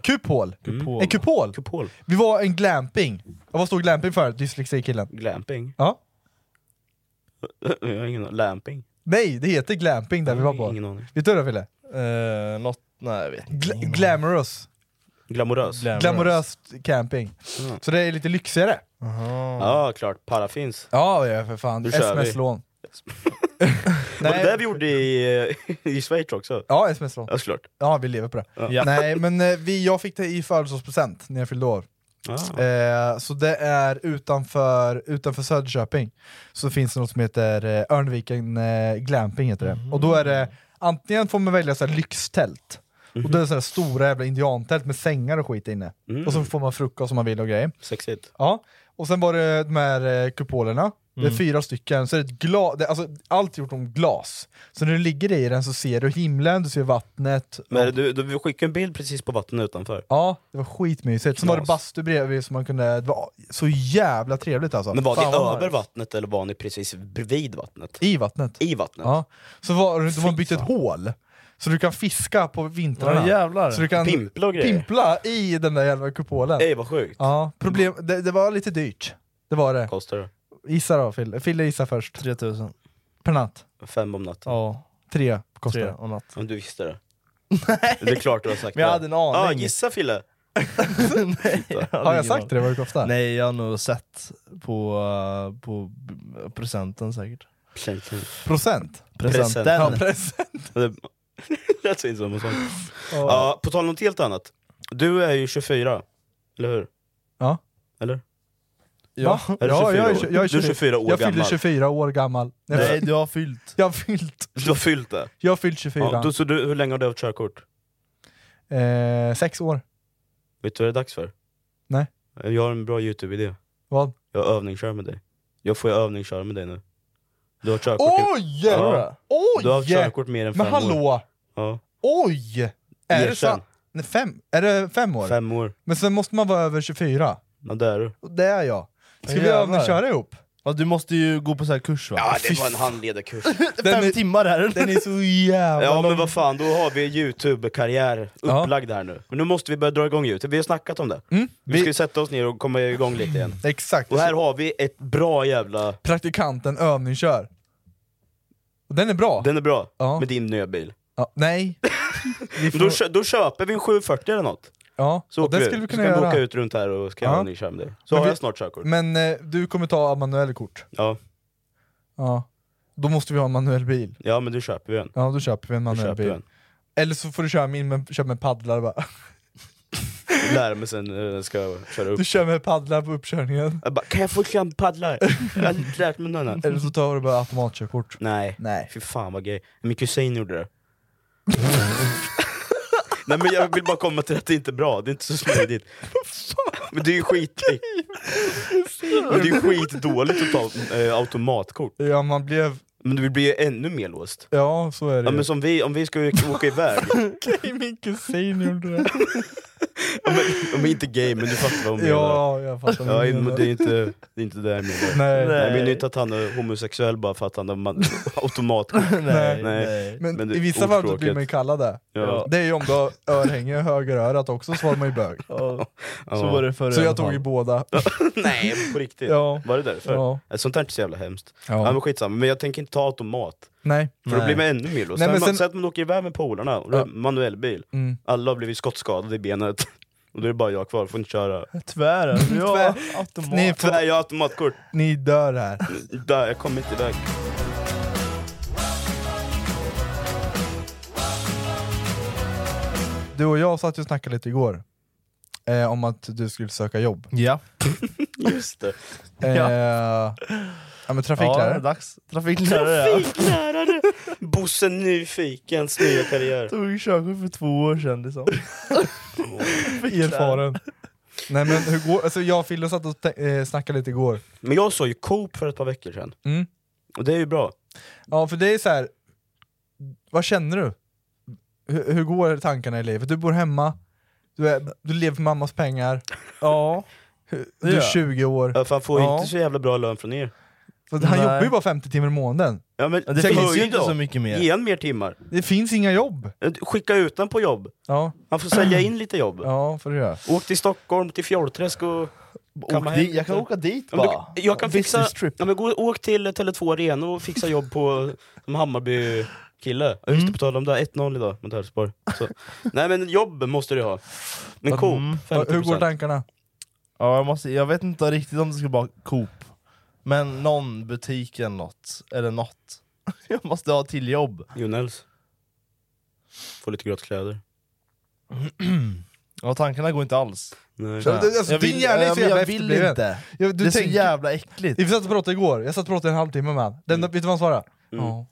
Speaker 3: Kupol.
Speaker 1: Kupol!
Speaker 3: Mm.
Speaker 1: En kupol!
Speaker 3: Kupol.
Speaker 1: Vi var en glamping. Och Vad stod glamping för? Dyslexikillen.
Speaker 3: Glamping.
Speaker 1: Ja.
Speaker 3: Jag har ingen Lamping?
Speaker 1: Nej, det heter glamping där vi var på.
Speaker 3: Ingen aning.
Speaker 1: Vet du det Fille?
Speaker 2: Uh, något, nej jag vet
Speaker 1: Gla- glamorous.
Speaker 3: Glamorös?
Speaker 1: Glamorös camping.
Speaker 3: Mm.
Speaker 1: Så det är lite lyxigare.
Speaker 3: Ja, klart. Paraffins.
Speaker 1: Ja, ja för fan.
Speaker 3: Nu kör vi.
Speaker 1: Sms-lån.
Speaker 3: Var det där vi gjorde i, eh, i Schweiz också?
Speaker 1: Ja, sms-lån.
Speaker 3: Ja, såklart.
Speaker 1: Ja, vi lever på det.
Speaker 3: Ja. Ja.
Speaker 1: Nej, men eh, vi, jag fick det i födelsedagspresent när jag fyllde år.
Speaker 3: Ah.
Speaker 1: Eh, så det är utanför, utanför Söderköping, så finns det något som heter eh, Örnviken eh, Glamping. Heter det. Och då är det, antingen får man välja så här lyxtält, och det är så här stora jävla indiantält med sängar och skit inne.
Speaker 3: Mm.
Speaker 1: Och så får man frukost om man vill och grejer.
Speaker 3: Sexigt.
Speaker 1: Ja, och sen var det de här eh, kupolerna. Det är
Speaker 3: Mm.
Speaker 1: fyra stycken, så det är ett gla- det, alltså, allt är gjort om glas. Så när du ligger i den så ser du himlen, du ser vattnet.
Speaker 3: Men du, du skickade en bild precis på vattnet utanför.
Speaker 1: Ja, det var skitmysigt. Sen var det bastu bredvid som man kunde... Det var så jävla trevligt alltså.
Speaker 3: Men var
Speaker 1: Fan, vad
Speaker 3: ni över
Speaker 1: nice.
Speaker 3: vattnet eller var ni precis bredvid vattnet?
Speaker 1: I vattnet.
Speaker 3: I vattnet?
Speaker 1: Ja. Så var, de har byggt ett hål, så du kan fiska på vintrarna.
Speaker 3: Ja, jävlar.
Speaker 1: Så du kan
Speaker 3: Pimpla och grejer.
Speaker 1: pimpla i den där jävla kupolen.
Speaker 3: Ej vad sjukt!
Speaker 1: Ja, problem, det, det var lite dyrt. Det var det.
Speaker 3: Kostar det?
Speaker 1: Gissa då Fille, Fille gissa först.
Speaker 2: 3000.
Speaker 1: Per natt?
Speaker 3: Fem om natten?
Speaker 2: Ja.
Speaker 1: Tre kostar
Speaker 2: Tre
Speaker 1: det.
Speaker 2: om natten.
Speaker 3: Om du visste det? Det är klart du har sagt
Speaker 2: Men jag
Speaker 3: det.
Speaker 2: hade en aning.
Speaker 3: Ja, gissa Fille!
Speaker 1: Har jag sagt det vad det kostar?
Speaker 2: Nej, jag har nog sett på, eh, på b- presenten säkert.
Speaker 3: Presenten.
Speaker 1: Procent?
Speaker 2: Presenten.
Speaker 1: Ja, present.
Speaker 3: Det lät så insamma sak. Ja, på tal om något helt annat. Du är ju 24, eller hur?
Speaker 1: Ja.
Speaker 3: Eller?
Speaker 1: Ja,
Speaker 3: Är du
Speaker 1: ja,
Speaker 3: 24
Speaker 1: jag, är,
Speaker 3: år?
Speaker 1: tju- jag är
Speaker 3: Du är 24 år
Speaker 1: jag fyller
Speaker 3: gammal.
Speaker 1: 24 år gammal.
Speaker 2: Nej, du har fyllt.
Speaker 1: Jag har fyllt,
Speaker 3: Du har fyllt det?
Speaker 1: jag har fyllt 24.
Speaker 3: Ja, då, så du, hur länge har du haft körkort?
Speaker 1: eh, sex år.
Speaker 3: Vet du vad det är dags för?
Speaker 1: Nej.
Speaker 3: Jag har en bra Youtube-idé.
Speaker 1: Vad?
Speaker 3: Jag övningskör med dig. Jag får ju övningsköra med dig nu. Du har körkort i-
Speaker 1: Oj!
Speaker 3: Ja.
Speaker 1: Oj!
Speaker 3: Du har haft körkort mer än
Speaker 1: Men
Speaker 3: fem
Speaker 1: hallå!
Speaker 3: år. Ja.
Speaker 1: Oj! Är det,
Speaker 3: Erkänn.
Speaker 1: så, Nej, fem, är det fem år?
Speaker 3: Fem år.
Speaker 1: Men sen måste man vara över 24.
Speaker 3: Ja, det är du.
Speaker 1: Och det är jag. Ska vi
Speaker 2: Jävlar.
Speaker 1: övningsköra ihop?
Speaker 2: Ja, du måste ju gå på så här kurs va?
Speaker 3: Ja, det var en handledarkurs.
Speaker 2: Fem timmar är det.
Speaker 1: Den är så jävla
Speaker 3: Ja men
Speaker 1: lång.
Speaker 3: vad fan, då har vi en Youtube-karriär upplagd här nu. Men nu måste vi börja dra igång Youtube, vi har snackat om det.
Speaker 1: Mm,
Speaker 3: Vi ska ju sätta oss ner och komma igång lite igen.
Speaker 1: Exakt.
Speaker 3: Och här har vi ett bra jävla...
Speaker 1: Praktikanten övningskör. Och Den är bra.
Speaker 3: Den är bra,
Speaker 1: Ja.
Speaker 3: med din nya bil.
Speaker 1: Ja, nej. Vi
Speaker 3: Då,
Speaker 1: får,
Speaker 3: kö- då köper vi en 740 eller något.
Speaker 1: ja,
Speaker 3: Så
Speaker 1: och
Speaker 3: åker
Speaker 1: det skulle vi
Speaker 3: Så
Speaker 1: kunna
Speaker 3: kan
Speaker 1: göra.
Speaker 3: åka ut runt här och ska
Speaker 1: Ja.
Speaker 3: ja. ni köra med det. Så
Speaker 1: Men
Speaker 3: har
Speaker 1: vi-
Speaker 3: jag snart körkort.
Speaker 1: Men eh, du kommer ta manuellkort.
Speaker 3: Ja.
Speaker 1: Ja. Då måste vi ha en manuell bil.
Speaker 3: ja men då köper vi en.
Speaker 1: Ja, då köper vi en
Speaker 3: Då
Speaker 1: manuell
Speaker 3: köper vi
Speaker 1: bil.
Speaker 3: en.
Speaker 1: Eller så får du köra min, men kör med paddlar bara.
Speaker 3: Lär mig sen hur den ska köra upp.
Speaker 1: Du kör med paddlar på uppkörningen.
Speaker 3: Jag bara, kan jag få köra med paddlar? Jag har aldrig lärt mig någon annan.
Speaker 1: Eller så tar du bara automatkörkort.
Speaker 3: Nej.
Speaker 1: Nej.
Speaker 3: Fy fan vad gay. Min kusin gjorde det. Nej men jag vill bara komma till att det inte är bra, det är inte så smidigt. men det är ju skit... men det är ju skitdåligt att ta eh, automatkort.
Speaker 1: Ja, man blev...
Speaker 3: Men du blir ju ännu mer låst.
Speaker 1: Ja, så är det
Speaker 3: Ja,
Speaker 1: ju.
Speaker 3: men som vi, om vi ska åka- åka iväg,
Speaker 1: Okej, min kusin gjorde det.
Speaker 3: om inte gay men du fattar vad jag menar.
Speaker 1: ja, jag fattar. vad
Speaker 3: Ja,
Speaker 1: du
Speaker 3: men
Speaker 1: menar.
Speaker 3: det är inte det, är inte det jag menar.
Speaker 1: Nej.
Speaker 3: Nej, men det är inte att han är homosexuell bara för att han har man- automatkort.
Speaker 2: Nej,
Speaker 3: Nej.
Speaker 1: Men,
Speaker 3: men det
Speaker 1: i
Speaker 3: är
Speaker 1: vissa fall så
Speaker 3: ordspråket.
Speaker 1: blir man ju kallad det.
Speaker 3: Ja.
Speaker 1: Det är ju om du har örhänge i högerörat också så var man ju bög.
Speaker 2: Ja.
Speaker 3: Ja.
Speaker 2: Så var det förr
Speaker 1: Så
Speaker 2: i
Speaker 1: jag
Speaker 2: alla
Speaker 1: tog
Speaker 2: fall.
Speaker 1: ju båda.
Speaker 3: Nej men på riktigt,
Speaker 1: Ja.
Speaker 3: var det därför?
Speaker 1: Ja.
Speaker 3: Ja. Sånt här är inte så jävla hemskt.
Speaker 1: Ja.
Speaker 3: Ja. men skitsamma, men jag tänker inte ta automat.
Speaker 1: Nej.
Speaker 3: För då blir man ännu mer låst.
Speaker 1: Nej,
Speaker 3: Sen
Speaker 1: men
Speaker 3: man-
Speaker 1: sen-
Speaker 3: Säg att man åker iväg med polarna, och det är manuell bil.
Speaker 1: Mm.
Speaker 3: Alla har blivit skottskadade i benet. Och då är det bara jag kvar, får inte köra.
Speaker 2: Tvär, alltså. ja,
Speaker 1: Tvär.
Speaker 2: automat.
Speaker 1: Ni får-
Speaker 3: Tyvärr, jag har automatkort.
Speaker 1: Ni dör här.
Speaker 3: Där, jag kommer inte iväg.
Speaker 1: Du och jag satt ju och snackade lite igår. Eh, om att du skulle söka jobb.
Speaker 2: Ja.
Speaker 3: Just det.
Speaker 1: Eh,
Speaker 2: Ja.
Speaker 1: ja. men
Speaker 2: ja, det
Speaker 1: trafiklärare.
Speaker 2: är dags. Trafiklärare ja.
Speaker 3: Trafiklärare! Bosse Nyfikens nya karriär.
Speaker 2: Tog körkort för två år sedan liksom.
Speaker 1: Erfaren. Nej men hur går, alltså jag och Fille satt och te- eh, snackade lite igår.
Speaker 3: Men jag såg ju Coop för ett par veckor sedan.
Speaker 1: Mm.
Speaker 3: Och det är ju bra.
Speaker 1: Ja för det är så här. vad känner du? Hur, hur går tankarna i livet? Du bor hemma, du, är, du lever för mammas pengar,
Speaker 2: Ja. det
Speaker 1: du är
Speaker 2: gör
Speaker 1: 20 år.
Speaker 3: Ja, För han får ju
Speaker 1: Ja.
Speaker 3: inte så jävla bra lön från er.
Speaker 1: För han
Speaker 2: Nej.
Speaker 1: jobbar ju bara 50 timmar i månaden.
Speaker 3: Ja, men,
Speaker 2: Ja, det
Speaker 3: Sen
Speaker 2: finns
Speaker 3: höj
Speaker 2: ju inte
Speaker 3: då.
Speaker 2: så mycket mer.
Speaker 3: Ge han mer timmar.
Speaker 1: Det finns inga jobb.
Speaker 3: Skicka ut han på jobb.
Speaker 1: Ja,
Speaker 3: Han får sälja in lite jobb.
Speaker 1: ja får du göra.
Speaker 3: Åk till Stockholm, till Fjällträsk och
Speaker 9: Kan man,
Speaker 3: hem-
Speaker 9: dit- jag kan åka dit
Speaker 3: Ja, men
Speaker 9: bara.
Speaker 3: du, jag kan fixa,
Speaker 9: Business trip.
Speaker 3: ja, men gå, åk till Tele2 Arena och fixa jobb på som Hammarby-kille.
Speaker 9: Mm.
Speaker 3: Ja, Just det, på tal om det, 1-0 idag mot Elfsborg. Så- Nej men jobb måste du ha. Men Coop,
Speaker 9: Mm.
Speaker 3: 50%.
Speaker 9: Hur går
Speaker 1: tankarna?
Speaker 9: Ja, jag, måste, jag vet inte riktigt om det ska vara Coop, men någon butik eller något. Eller något. Jag måste ha till jobb.
Speaker 3: Jonels. Få lite gratiskläder.
Speaker 9: ja, tankarna går inte alls.
Speaker 3: Nej.
Speaker 1: Ja, det- alltså,
Speaker 9: jag
Speaker 1: din
Speaker 9: vill,
Speaker 1: hjärna är så
Speaker 9: ja, men
Speaker 1: jävla
Speaker 9: jag vill
Speaker 1: efterbliven.
Speaker 9: inte.
Speaker 1: Ja, du
Speaker 9: det är
Speaker 1: tänker-
Speaker 9: så jävla äckligt.
Speaker 1: Vi satt och pratade igår, jag satt och pratade i en halvtimme med honom. Den,
Speaker 9: Mm.
Speaker 1: Vet du vad han svarade? Ja.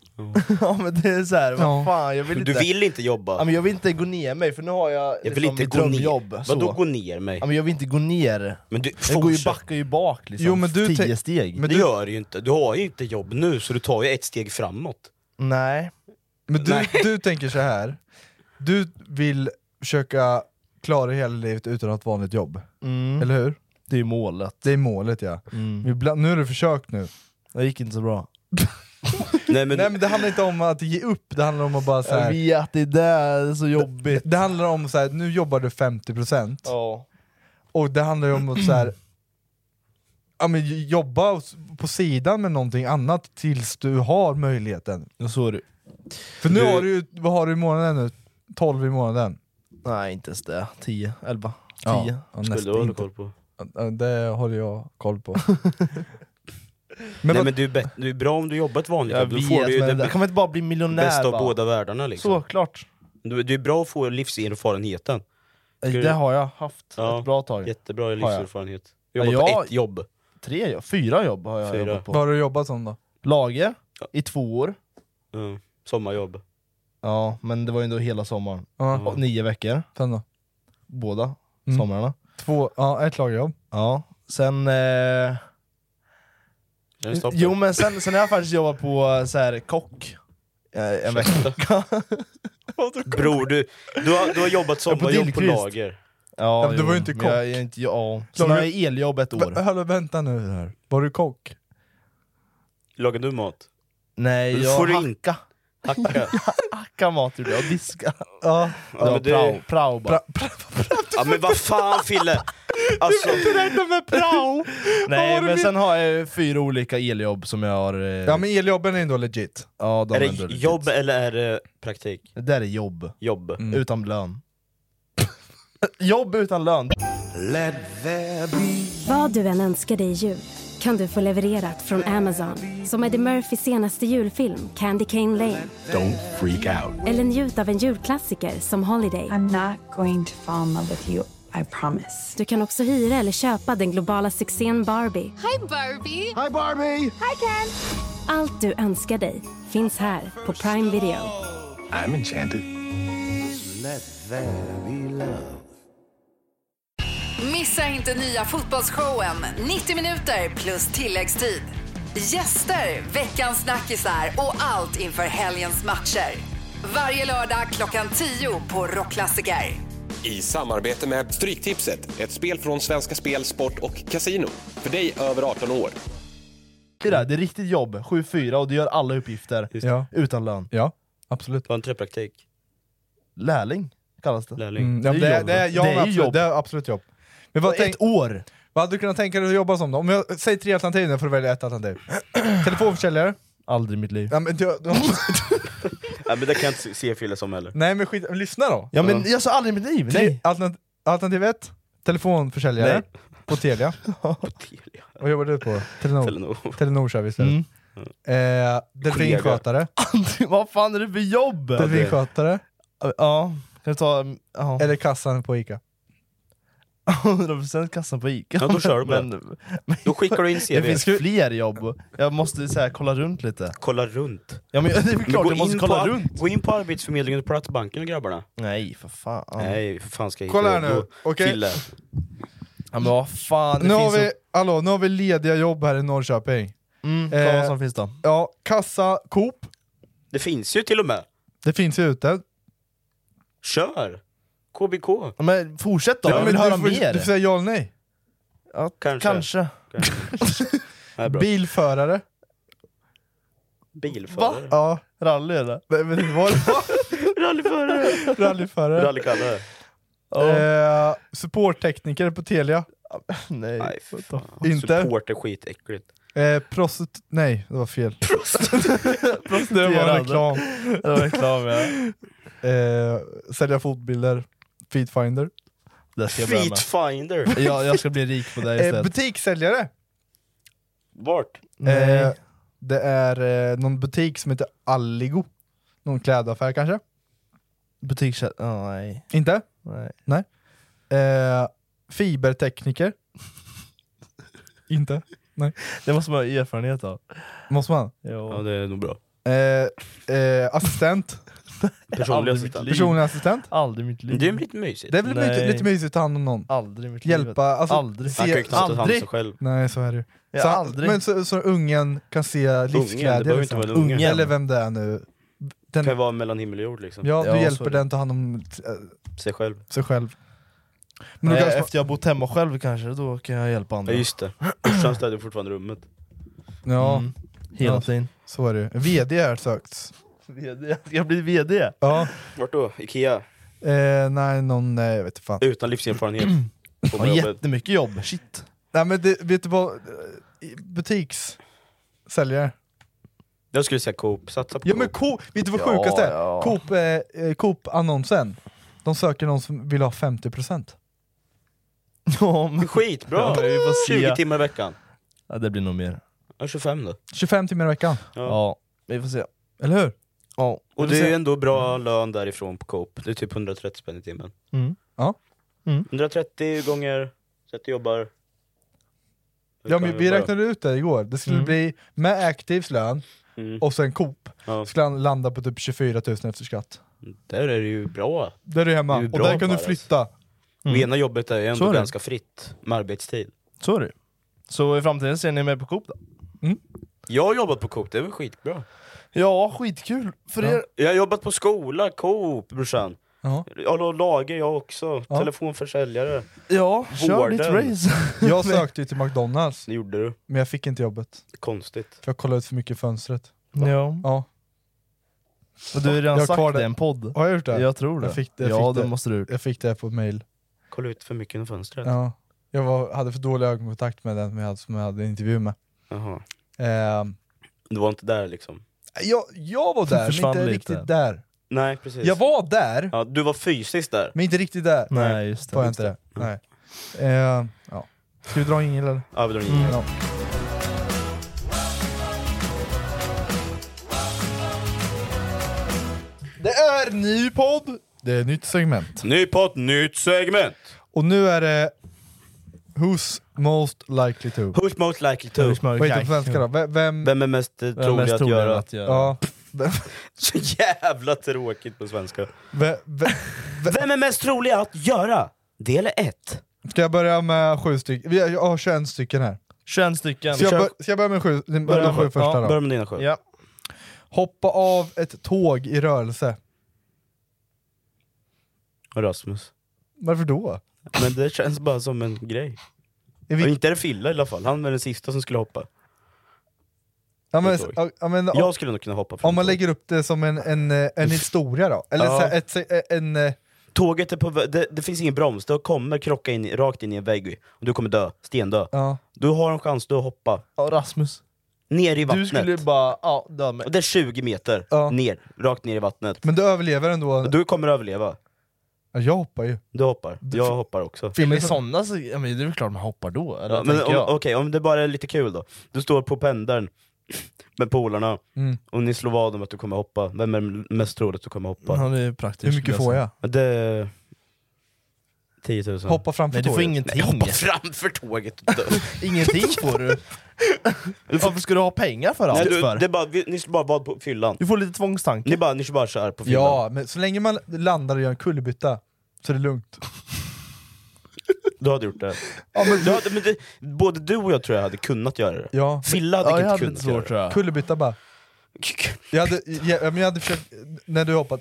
Speaker 9: ja men det är såhär,
Speaker 1: Ja.
Speaker 9: vad fan, jag vill
Speaker 1: Men
Speaker 9: inte...
Speaker 1: du vill inte
Speaker 3: jobba.
Speaker 9: Ja, men jag vill inte gå ner mig, för nu har jag,
Speaker 3: Jag vill
Speaker 9: liksom
Speaker 3: inte
Speaker 9: mitt
Speaker 3: gå
Speaker 9: drömjobb.
Speaker 3: ner.
Speaker 9: så.
Speaker 3: Vadå gå ner mig?
Speaker 9: Ja, men jag vill inte gå ner.
Speaker 3: Men du,
Speaker 9: jag går ju
Speaker 3: fortsätt.
Speaker 9: backar ju bak liksom, tio steg.
Speaker 3: det gör du ju inte. Du har ju inte jobb nu, så du tar ju ett steg framåt.
Speaker 9: Nej.
Speaker 1: Men du, du tänker så här. du vill försöka klara hela livet utan att ha ett vanligt jobb.
Speaker 9: Mm.
Speaker 1: Eller hur?
Speaker 9: Det är målet.
Speaker 1: Det är målet ja.
Speaker 9: Mm.
Speaker 1: Ibland, nu har du försökt nu.
Speaker 9: Det gick inte så bra.
Speaker 3: Nej men,
Speaker 1: Nej, men det handlar inte om att ge upp, det handlar om att bara så här,
Speaker 9: Jag vet, det är där det är så jobbigt.
Speaker 1: Det handlar om så här, nu jobbar du 50%
Speaker 9: Ja.
Speaker 1: och det handlar ju om att så här, ja, men j- jobba s- på sidan med någonting annat tills du har möjligheten.
Speaker 9: Ja, så är det.
Speaker 1: För nu
Speaker 9: Du-
Speaker 1: har du ju, vad har du i månaden nu? 12 i månaden?
Speaker 9: Nej inte ens det, 10, 11, 10.
Speaker 1: Ja, ja,
Speaker 3: Skulle
Speaker 1: nästan
Speaker 3: du hålla
Speaker 1: inte.
Speaker 3: koll på?
Speaker 1: Ja, Det håller jag koll på.
Speaker 3: Nej men du är, bet- du är bra om du jobbar ett vanligt
Speaker 9: Jag
Speaker 3: jobb. Då
Speaker 9: vet,
Speaker 3: får du ju
Speaker 9: men
Speaker 3: det
Speaker 9: det-
Speaker 3: bä-
Speaker 9: kan man inte bara bli miljonär,
Speaker 3: Bästa av
Speaker 9: va?
Speaker 3: båda världarna liksom.
Speaker 9: Såklart.
Speaker 3: Du, du är bra att få livserfarenheten. Ska du-
Speaker 9: Det har jag haft
Speaker 3: Ja,
Speaker 9: ett bra tag.
Speaker 3: Jättebra
Speaker 9: jag.
Speaker 3: livserfarenhet. Du jobbar
Speaker 9: Ja,
Speaker 3: på
Speaker 9: jag-
Speaker 3: ett jobb.
Speaker 9: Tre jobb, fyra jobb har jag
Speaker 3: Fyra.
Speaker 9: jobbat på.
Speaker 1: Vad har du jobbat som då?
Speaker 9: Lager, i två år.
Speaker 3: Mm. Sommarjobb.
Speaker 9: Ja, men det var ju ändå hela sommaren.
Speaker 1: Ja.
Speaker 9: Och Nio veckor.
Speaker 1: Sen då?
Speaker 9: Båda
Speaker 1: Mm.
Speaker 9: somrarna.
Speaker 1: Två, ja, ett lagerjobb.
Speaker 9: Ja, sen... Eh...
Speaker 1: det stopp?
Speaker 9: Jo men sen, sen har jag faktiskt jobbat på så här, kock. Eh, En vecka.
Speaker 3: Bror, du, du, har, du har jobbat
Speaker 9: Jag är på
Speaker 3: sommarjobb på,
Speaker 9: Dillqvist.
Speaker 3: lager.
Speaker 9: Ja,
Speaker 1: Ja, men du
Speaker 9: jo,
Speaker 1: var ju inte
Speaker 9: men
Speaker 1: kock.
Speaker 9: Jag, jag, är inte, ja. Sen har jag eljobb ett år.
Speaker 1: Vä- hallå, vänta nu här. Var du kock?
Speaker 3: Lagar du mat?
Speaker 9: Nej,
Speaker 3: Då
Speaker 9: jag
Speaker 3: får du
Speaker 9: hack-
Speaker 3: inte. Hacka.
Speaker 9: hackar mat gjorde jag, och diskar.
Speaker 1: Ja,
Speaker 9: ja,
Speaker 3: men det-
Speaker 9: prao, prao bara.
Speaker 3: ja men vad fan Fille! Alltså,
Speaker 1: räkna med prao!
Speaker 9: Nej
Speaker 1: Vad var
Speaker 9: men
Speaker 1: det
Speaker 9: sen har jag ju fyra olika eljobb som jag har... eh,
Speaker 1: Ja men eljobben är ändå legit.
Speaker 9: ja, de
Speaker 3: är
Speaker 9: ändå
Speaker 3: det
Speaker 9: legit.
Speaker 3: jobb eller är det praktik?
Speaker 9: Det där är jobb.
Speaker 3: Jobb.
Speaker 1: Mm.
Speaker 9: Utan lön. jobb utan lön.
Speaker 10: Vad du än önskar dig i jul kan du få levererat från Amazon. Som Eddie Murphys senaste julfilm Candy Cane Lane.
Speaker 11: Don't freak out.
Speaker 10: Eller njut av en julklassiker som Holiday. I'm not going to fall in love with you, I promise. Du kan också hyra eller köpa den globala succén Barbie.
Speaker 12: Hi Barbie! Hi Barbie! Hi Ken!
Speaker 10: Allt du önskar dig finns här på Prime Video.
Speaker 11: I'm enchanted.
Speaker 13: Missa inte nya fotbollsshowen. 90 minuter plus tilläggstid. Gäster, veckans snackisar och allt inför helgens matcher. Varje lördag klockan 10 på Rockklassiker.
Speaker 14: I samarbete med Stryktipset, ett spel från Svenska Spel, Sport och Casino. För dig över 18 år.
Speaker 9: Det där, det är riktigt jobb. 7-4 och du gör alla uppgifter.
Speaker 1: Ja.
Speaker 9: Utan lön.
Speaker 1: Ja, absolut.
Speaker 3: På entrepraktik.
Speaker 9: Lärling kallas det.
Speaker 3: Lärling.
Speaker 1: Mm, ja,
Speaker 9: Det
Speaker 1: det,
Speaker 9: är
Speaker 1: det, det, ja,
Speaker 9: jobb. Det
Speaker 1: men
Speaker 9: är ju
Speaker 1: absolut,
Speaker 9: jobb.
Speaker 1: det är absolut jobb. Men vad
Speaker 9: Och ett år!
Speaker 1: Vad hade du kunnat tänka dig att jobba som då? Om jag säger tre alternativ, då får du välja ett alternativ. Telefonförsäljare?
Speaker 9: Aldrig i mitt liv.
Speaker 1: Ja, men, du, du,
Speaker 3: Nej men det kan jag inte se Fille som heller.
Speaker 1: nej men skit, men lyssna då!
Speaker 3: Ja, men
Speaker 9: jag sa alltså, aldrig i mitt liv,
Speaker 1: nej! Alternativ, alternativ ett, telefonförsäljare
Speaker 3: Nej.
Speaker 1: på Telia. Vad jobbar du på? Telenor?
Speaker 3: Telenor,
Speaker 1: kör vi istället.
Speaker 9: Mm.
Speaker 1: Eh, delfinskötare?
Speaker 9: Vad fan är det för jobb?
Speaker 1: Delfinskötare?
Speaker 9: Ja, kan du ta... Ja.
Speaker 1: Eller kassan på Ica?
Speaker 9: 100% kassan på Ica.
Speaker 3: Ja, då kör du på det. Då skickar du in CV.
Speaker 9: Det finns fler jobb. Jag måste så här, kolla runt lite.
Speaker 3: Kolla runt?
Speaker 9: Ja, men, det är väl klart
Speaker 3: gå
Speaker 9: jag måste
Speaker 3: in
Speaker 9: kolla
Speaker 3: på,
Speaker 9: runt.
Speaker 3: Gå in på Arbetsförmedlingen och Platsbanken grabbarna.
Speaker 9: Nej för fan.
Speaker 3: Nej för fan ska jag
Speaker 1: Kolla här
Speaker 3: inte
Speaker 1: nu,
Speaker 3: gå-
Speaker 1: okej.
Speaker 3: Fille.
Speaker 9: Ja, men vad fan, det
Speaker 1: Nu har,
Speaker 9: finns
Speaker 1: vi,
Speaker 9: så-
Speaker 1: hallå, nu har vi lediga jobb här i Norrköping.
Speaker 9: Mm, kolla vad som finns då.
Speaker 1: eh, Ja, kassa, Coop,
Speaker 3: Det finns ju till och med.
Speaker 1: det finns ju ute.
Speaker 3: Kör! KBK.
Speaker 9: Ja, men fortsätt då,
Speaker 1: Ja,
Speaker 9: jag
Speaker 1: men
Speaker 9: vill
Speaker 1: du
Speaker 9: höra
Speaker 1: får-
Speaker 9: mer.
Speaker 1: Du får säga ja eller nej.
Speaker 9: Ja,
Speaker 3: kanske.
Speaker 9: kanske.
Speaker 3: Det är bra.
Speaker 1: Bilförare.
Speaker 3: Bilförare.
Speaker 1: Ja.
Speaker 9: Rally eller?
Speaker 1: Men, men, det var
Speaker 3: Rallyförare.
Speaker 1: Rallyförare.
Speaker 3: Rallykalle.
Speaker 1: Eh, supporttekniker på Telia.
Speaker 9: Nej.
Speaker 3: Nej, fy fan.
Speaker 1: Inte?
Speaker 3: Support är skitäckligt.
Speaker 1: Eh, prostit... Nej, det var fel. det var
Speaker 9: Prostituerade.
Speaker 1: reklam.
Speaker 9: Det var reklam, ja.
Speaker 1: eh, sälja fotbilder. Feetfinder.
Speaker 9: Det ska jag börja med.
Speaker 3: Feetfinder.
Speaker 9: Jag, jag ska bli rik på det
Speaker 1: Eh,
Speaker 9: istället.
Speaker 1: butikssäljare.
Speaker 3: Vart?
Speaker 9: Nej.
Speaker 1: Eh, det är eh, någon butik som heter Alligo. Någon klädaffär kanske?
Speaker 9: Butikssäljare? nej.
Speaker 1: Inte?
Speaker 9: Nej.
Speaker 1: Nej. Eh, fibertekniker? Inte? Nej.
Speaker 9: Det måste man ha erfarenhet av.
Speaker 1: Måste man?
Speaker 9: Jo.
Speaker 3: Ja, det är nog bra.
Speaker 1: Eh, eh, assistent?
Speaker 3: Personlig assistent.
Speaker 1: Personlig assistent?
Speaker 9: Aldrig i mitt liv.
Speaker 3: Det är lite mysigt.
Speaker 1: Det är väl lite, lite mysigt att ta hand om någon?
Speaker 9: Aldrig i mitt liv.
Speaker 1: Hjälpa, alltså,
Speaker 9: aldrig.
Speaker 1: se-
Speaker 3: Han kan ju knappt ta hand om sig
Speaker 1: aldrig.
Speaker 3: själv.
Speaker 1: Nej så är det ju.
Speaker 9: Ja,
Speaker 1: så,
Speaker 9: aldrig.
Speaker 1: Men så, så ungen kan se
Speaker 3: det
Speaker 1: livsglädje
Speaker 3: behöver
Speaker 1: liksom.
Speaker 3: inte vara ungen.
Speaker 1: Eller vem det är nu.
Speaker 3: Det kan ju vara mellan himmel och jord liksom.
Speaker 1: Ja, du
Speaker 9: så
Speaker 1: hjälper
Speaker 9: är det.
Speaker 1: den ta hand om eh,
Speaker 3: Sig själv.
Speaker 1: sig själv. Men
Speaker 9: Men
Speaker 1: då kanske man-
Speaker 9: efter jag har bott hemma själv kanske, då kan jag hjälpa andra.
Speaker 3: Ja just det. Brorsan städar fortfarande rummet.
Speaker 1: Ja.
Speaker 9: Mm. Hela
Speaker 1: Ja,
Speaker 9: tiden.
Speaker 1: Så är det ju. VD har sökts.
Speaker 9: VD. Jag blir VD?
Speaker 1: Ja.
Speaker 3: Vart då? Ikea?
Speaker 1: Eh, nej, någon, nej, jag vet inte fan.
Speaker 3: Utan livserfarenhet. På
Speaker 9: Har
Speaker 3: jobbet.
Speaker 9: jättemycket jobb, shit.
Speaker 1: Nej men det, vet du vad, Eh, butikssäljare.
Speaker 3: Jag skulle säga Coop. Satsa på
Speaker 1: Ja men
Speaker 3: Coop.
Speaker 1: Coop, vet du vad
Speaker 3: Ja,
Speaker 1: sjukast är?
Speaker 3: ja.
Speaker 1: Coop, eh, eh, Coop-annonsen, de söker någon som vill ha 50%.
Speaker 9: Ja, men...
Speaker 3: Skitbra!
Speaker 9: Ja, vi får se.
Speaker 3: 20 timmar i veckan.
Speaker 9: Ja, det blir nog mer.
Speaker 3: Ja, 25 då.
Speaker 1: 25 timmar i veckan,
Speaker 3: Ja.
Speaker 9: Ja, vi får se.
Speaker 1: eller hur?
Speaker 9: Ja.
Speaker 3: Och det
Speaker 9: vi får
Speaker 3: är ju
Speaker 9: se.
Speaker 3: ändå bra lön därifrån på Coop. Det är typ 130 spänn i timmen.
Speaker 9: Mm.
Speaker 1: Ja. Mm.
Speaker 3: 130 gånger så att du jobbar...
Speaker 1: Ja men vi räknade ut det igår, det skulle
Speaker 3: Mm.
Speaker 1: bli med Actives lön
Speaker 3: Mm.
Speaker 1: och sen Coop,
Speaker 3: Ja.
Speaker 1: skulle han landa på typ 24 000 efter skatt.
Speaker 3: Där är det ju bra.
Speaker 1: Där är du hemma,
Speaker 3: Det är ju
Speaker 1: och
Speaker 3: bra
Speaker 1: där kan du
Speaker 3: bara,
Speaker 1: flytta.
Speaker 3: Och
Speaker 1: Mm.
Speaker 3: ena jobbet är ju ändå
Speaker 9: Så är det.
Speaker 3: ganska fritt med arbetstid.
Speaker 9: Så är det ju. Så i framtiden ser ni mig på Coop då?
Speaker 3: Jag har jobbat på Coop, det är väl skitbra?
Speaker 9: Ja, skitkul för er.
Speaker 3: Jag har jobbat på skola, Coop brorsan.
Speaker 1: Ja.
Speaker 3: Jag har lager jag också,
Speaker 1: Ja.
Speaker 3: telefonförsäljare.
Speaker 9: Ja, kör
Speaker 3: Vården.
Speaker 9: ditt race.
Speaker 1: Jag sökte ju till McDonalds,
Speaker 3: Det gjorde du.
Speaker 1: men jag fick inte jobbet.
Speaker 3: Konstigt.
Speaker 1: För jag kollade ut för mycket i fönstret.
Speaker 9: ja.
Speaker 1: Ja.
Speaker 9: Och du har ju
Speaker 1: Jag
Speaker 9: redan
Speaker 1: har
Speaker 9: sagt
Speaker 1: kvar
Speaker 9: det i
Speaker 1: det.
Speaker 9: en podd.
Speaker 1: Har jag gjort det?
Speaker 9: Jag tror det.
Speaker 1: Jag fick det, jag
Speaker 9: ja,
Speaker 1: fick
Speaker 9: det
Speaker 1: det.
Speaker 9: måste du ha gjort.
Speaker 1: Jag fick det på mail.
Speaker 3: Kolla ut för mycket genom fönstret.
Speaker 1: Ja. Jag var, hade för dålig ögonkontakt med den som jag hade, som jag hade en intervju med.
Speaker 3: Jaha.
Speaker 1: Ehm,
Speaker 3: Du var inte där liksom?
Speaker 1: jag, jag var där, men
Speaker 9: Försvann
Speaker 1: inte
Speaker 9: lite.
Speaker 1: riktigt där.
Speaker 3: Nej precis.
Speaker 1: Jag var där,
Speaker 3: Ja, du var fysiskt där.
Speaker 1: men inte riktigt där.
Speaker 9: Nej, just det.
Speaker 1: Var jag inte det? Nej. Ehm, ja. Ska vi dra en jingel eller?
Speaker 3: Ja, vi drar in.
Speaker 1: Ja. Det är ny podd! Det är nytt segment.
Speaker 3: Ny podd, nytt segment!
Speaker 1: Och nu är det Who's most likely to?
Speaker 3: Who's most likely to?
Speaker 1: Vad heter det på svenska då? V- Vem...
Speaker 3: Vem är mest eh, trolig
Speaker 9: mest
Speaker 3: att
Speaker 9: trolig
Speaker 3: göra?
Speaker 9: att göra?
Speaker 1: Ja.
Speaker 3: Så jävla tråkigt på svenska.
Speaker 1: V- v-
Speaker 3: Vem är mest trolig att göra? Del 1.
Speaker 1: Ska jag börja med sju stycken? Vi har, jag har 21 stycken här.
Speaker 9: 21 stycken.
Speaker 1: Ska jag,
Speaker 9: Kör.
Speaker 1: bör, ska jag börja med sju, börja med
Speaker 9: med
Speaker 1: sju
Speaker 9: sju.
Speaker 1: första
Speaker 9: Ja,
Speaker 1: då?
Speaker 3: Börja med dina sju.
Speaker 9: Ja.
Speaker 1: Hoppa av ett tåg i rörelse.
Speaker 3: Rasmus.
Speaker 1: Varför då?
Speaker 3: Men det känns bara som en grej.
Speaker 1: Är
Speaker 3: Och
Speaker 1: vi,
Speaker 3: inte är det Fille i alla fall, han är den sista som skulle hoppa.
Speaker 1: ja, men,
Speaker 3: tåg.
Speaker 1: ja, ja, men, om,
Speaker 3: Jag skulle nog kunna hoppa från
Speaker 1: om man
Speaker 3: tåg.
Speaker 1: lägger upp det som en, en, eh, en historia då? Eller
Speaker 3: Ja.
Speaker 1: så här, ett, se- en... eh,
Speaker 3: Tåget är på vä- det, det finns ingen broms, du kommer krocka in, i- rakt in i en vägg och du kommer dö, stendö.
Speaker 1: Ja.
Speaker 3: Du har en chans du att hoppa
Speaker 9: Ja, Rasmus.
Speaker 3: ner i
Speaker 9: Du
Speaker 3: vattnet.
Speaker 9: skulle bara... Ja, dö mig.
Speaker 3: Och det är 20 meter
Speaker 1: Ja.
Speaker 3: ner, rakt ner i vattnet.
Speaker 1: Men du överlever ändå?
Speaker 3: Du kommer överleva.
Speaker 1: Ja, jag hoppar ju.
Speaker 3: Du hoppar. Jag hoppar också.
Speaker 9: Ja, men i sådana så, ja, men det är väl klart man hoppar då, eller?
Speaker 3: Ja, men om,
Speaker 9: tänker jag.
Speaker 3: okej, om det bara är lite kul då. Du står på pendeln med polarna
Speaker 1: Mm.
Speaker 3: och ni slår vad om att du kommer hoppa. Vem är m- mest troligt att du kommer hoppa?
Speaker 9: Ja, det är praktiskt.
Speaker 1: Hur mycket
Speaker 9: skulle
Speaker 1: får
Speaker 9: säga.
Speaker 1: jag?
Speaker 3: Det är 10 000.
Speaker 1: Hoppa framför
Speaker 9: Nej, du får
Speaker 1: tåget?
Speaker 9: ingenting.
Speaker 3: Hoppa framför tåget och dö.
Speaker 9: Ingenting får du. Varför ska du ha pengar för
Speaker 3: Nej,
Speaker 9: allt?
Speaker 3: du,
Speaker 9: för?
Speaker 3: det är bara, vi- ni slår bara vad på fyllan.
Speaker 9: Du får lite tvångstankar.
Speaker 3: Ni bara, ni kör bara så här på fyllan.
Speaker 1: Ja, men så länge man landar och gör en kullerbytta så är det lugnt.
Speaker 3: Du hade gjort det. du hade, men det. Både du och jag tror jag hade kunnat göra det.
Speaker 1: Ja.
Speaker 3: Filla hade
Speaker 9: ja, jag
Speaker 3: inte
Speaker 9: hade
Speaker 3: kunnat
Speaker 9: lite svårt tror
Speaker 3: göra
Speaker 9: jag.
Speaker 1: Kullerbytta bara.
Speaker 3: det.
Speaker 1: Jag hade, ja, men jag hade försökt, när du hoppat,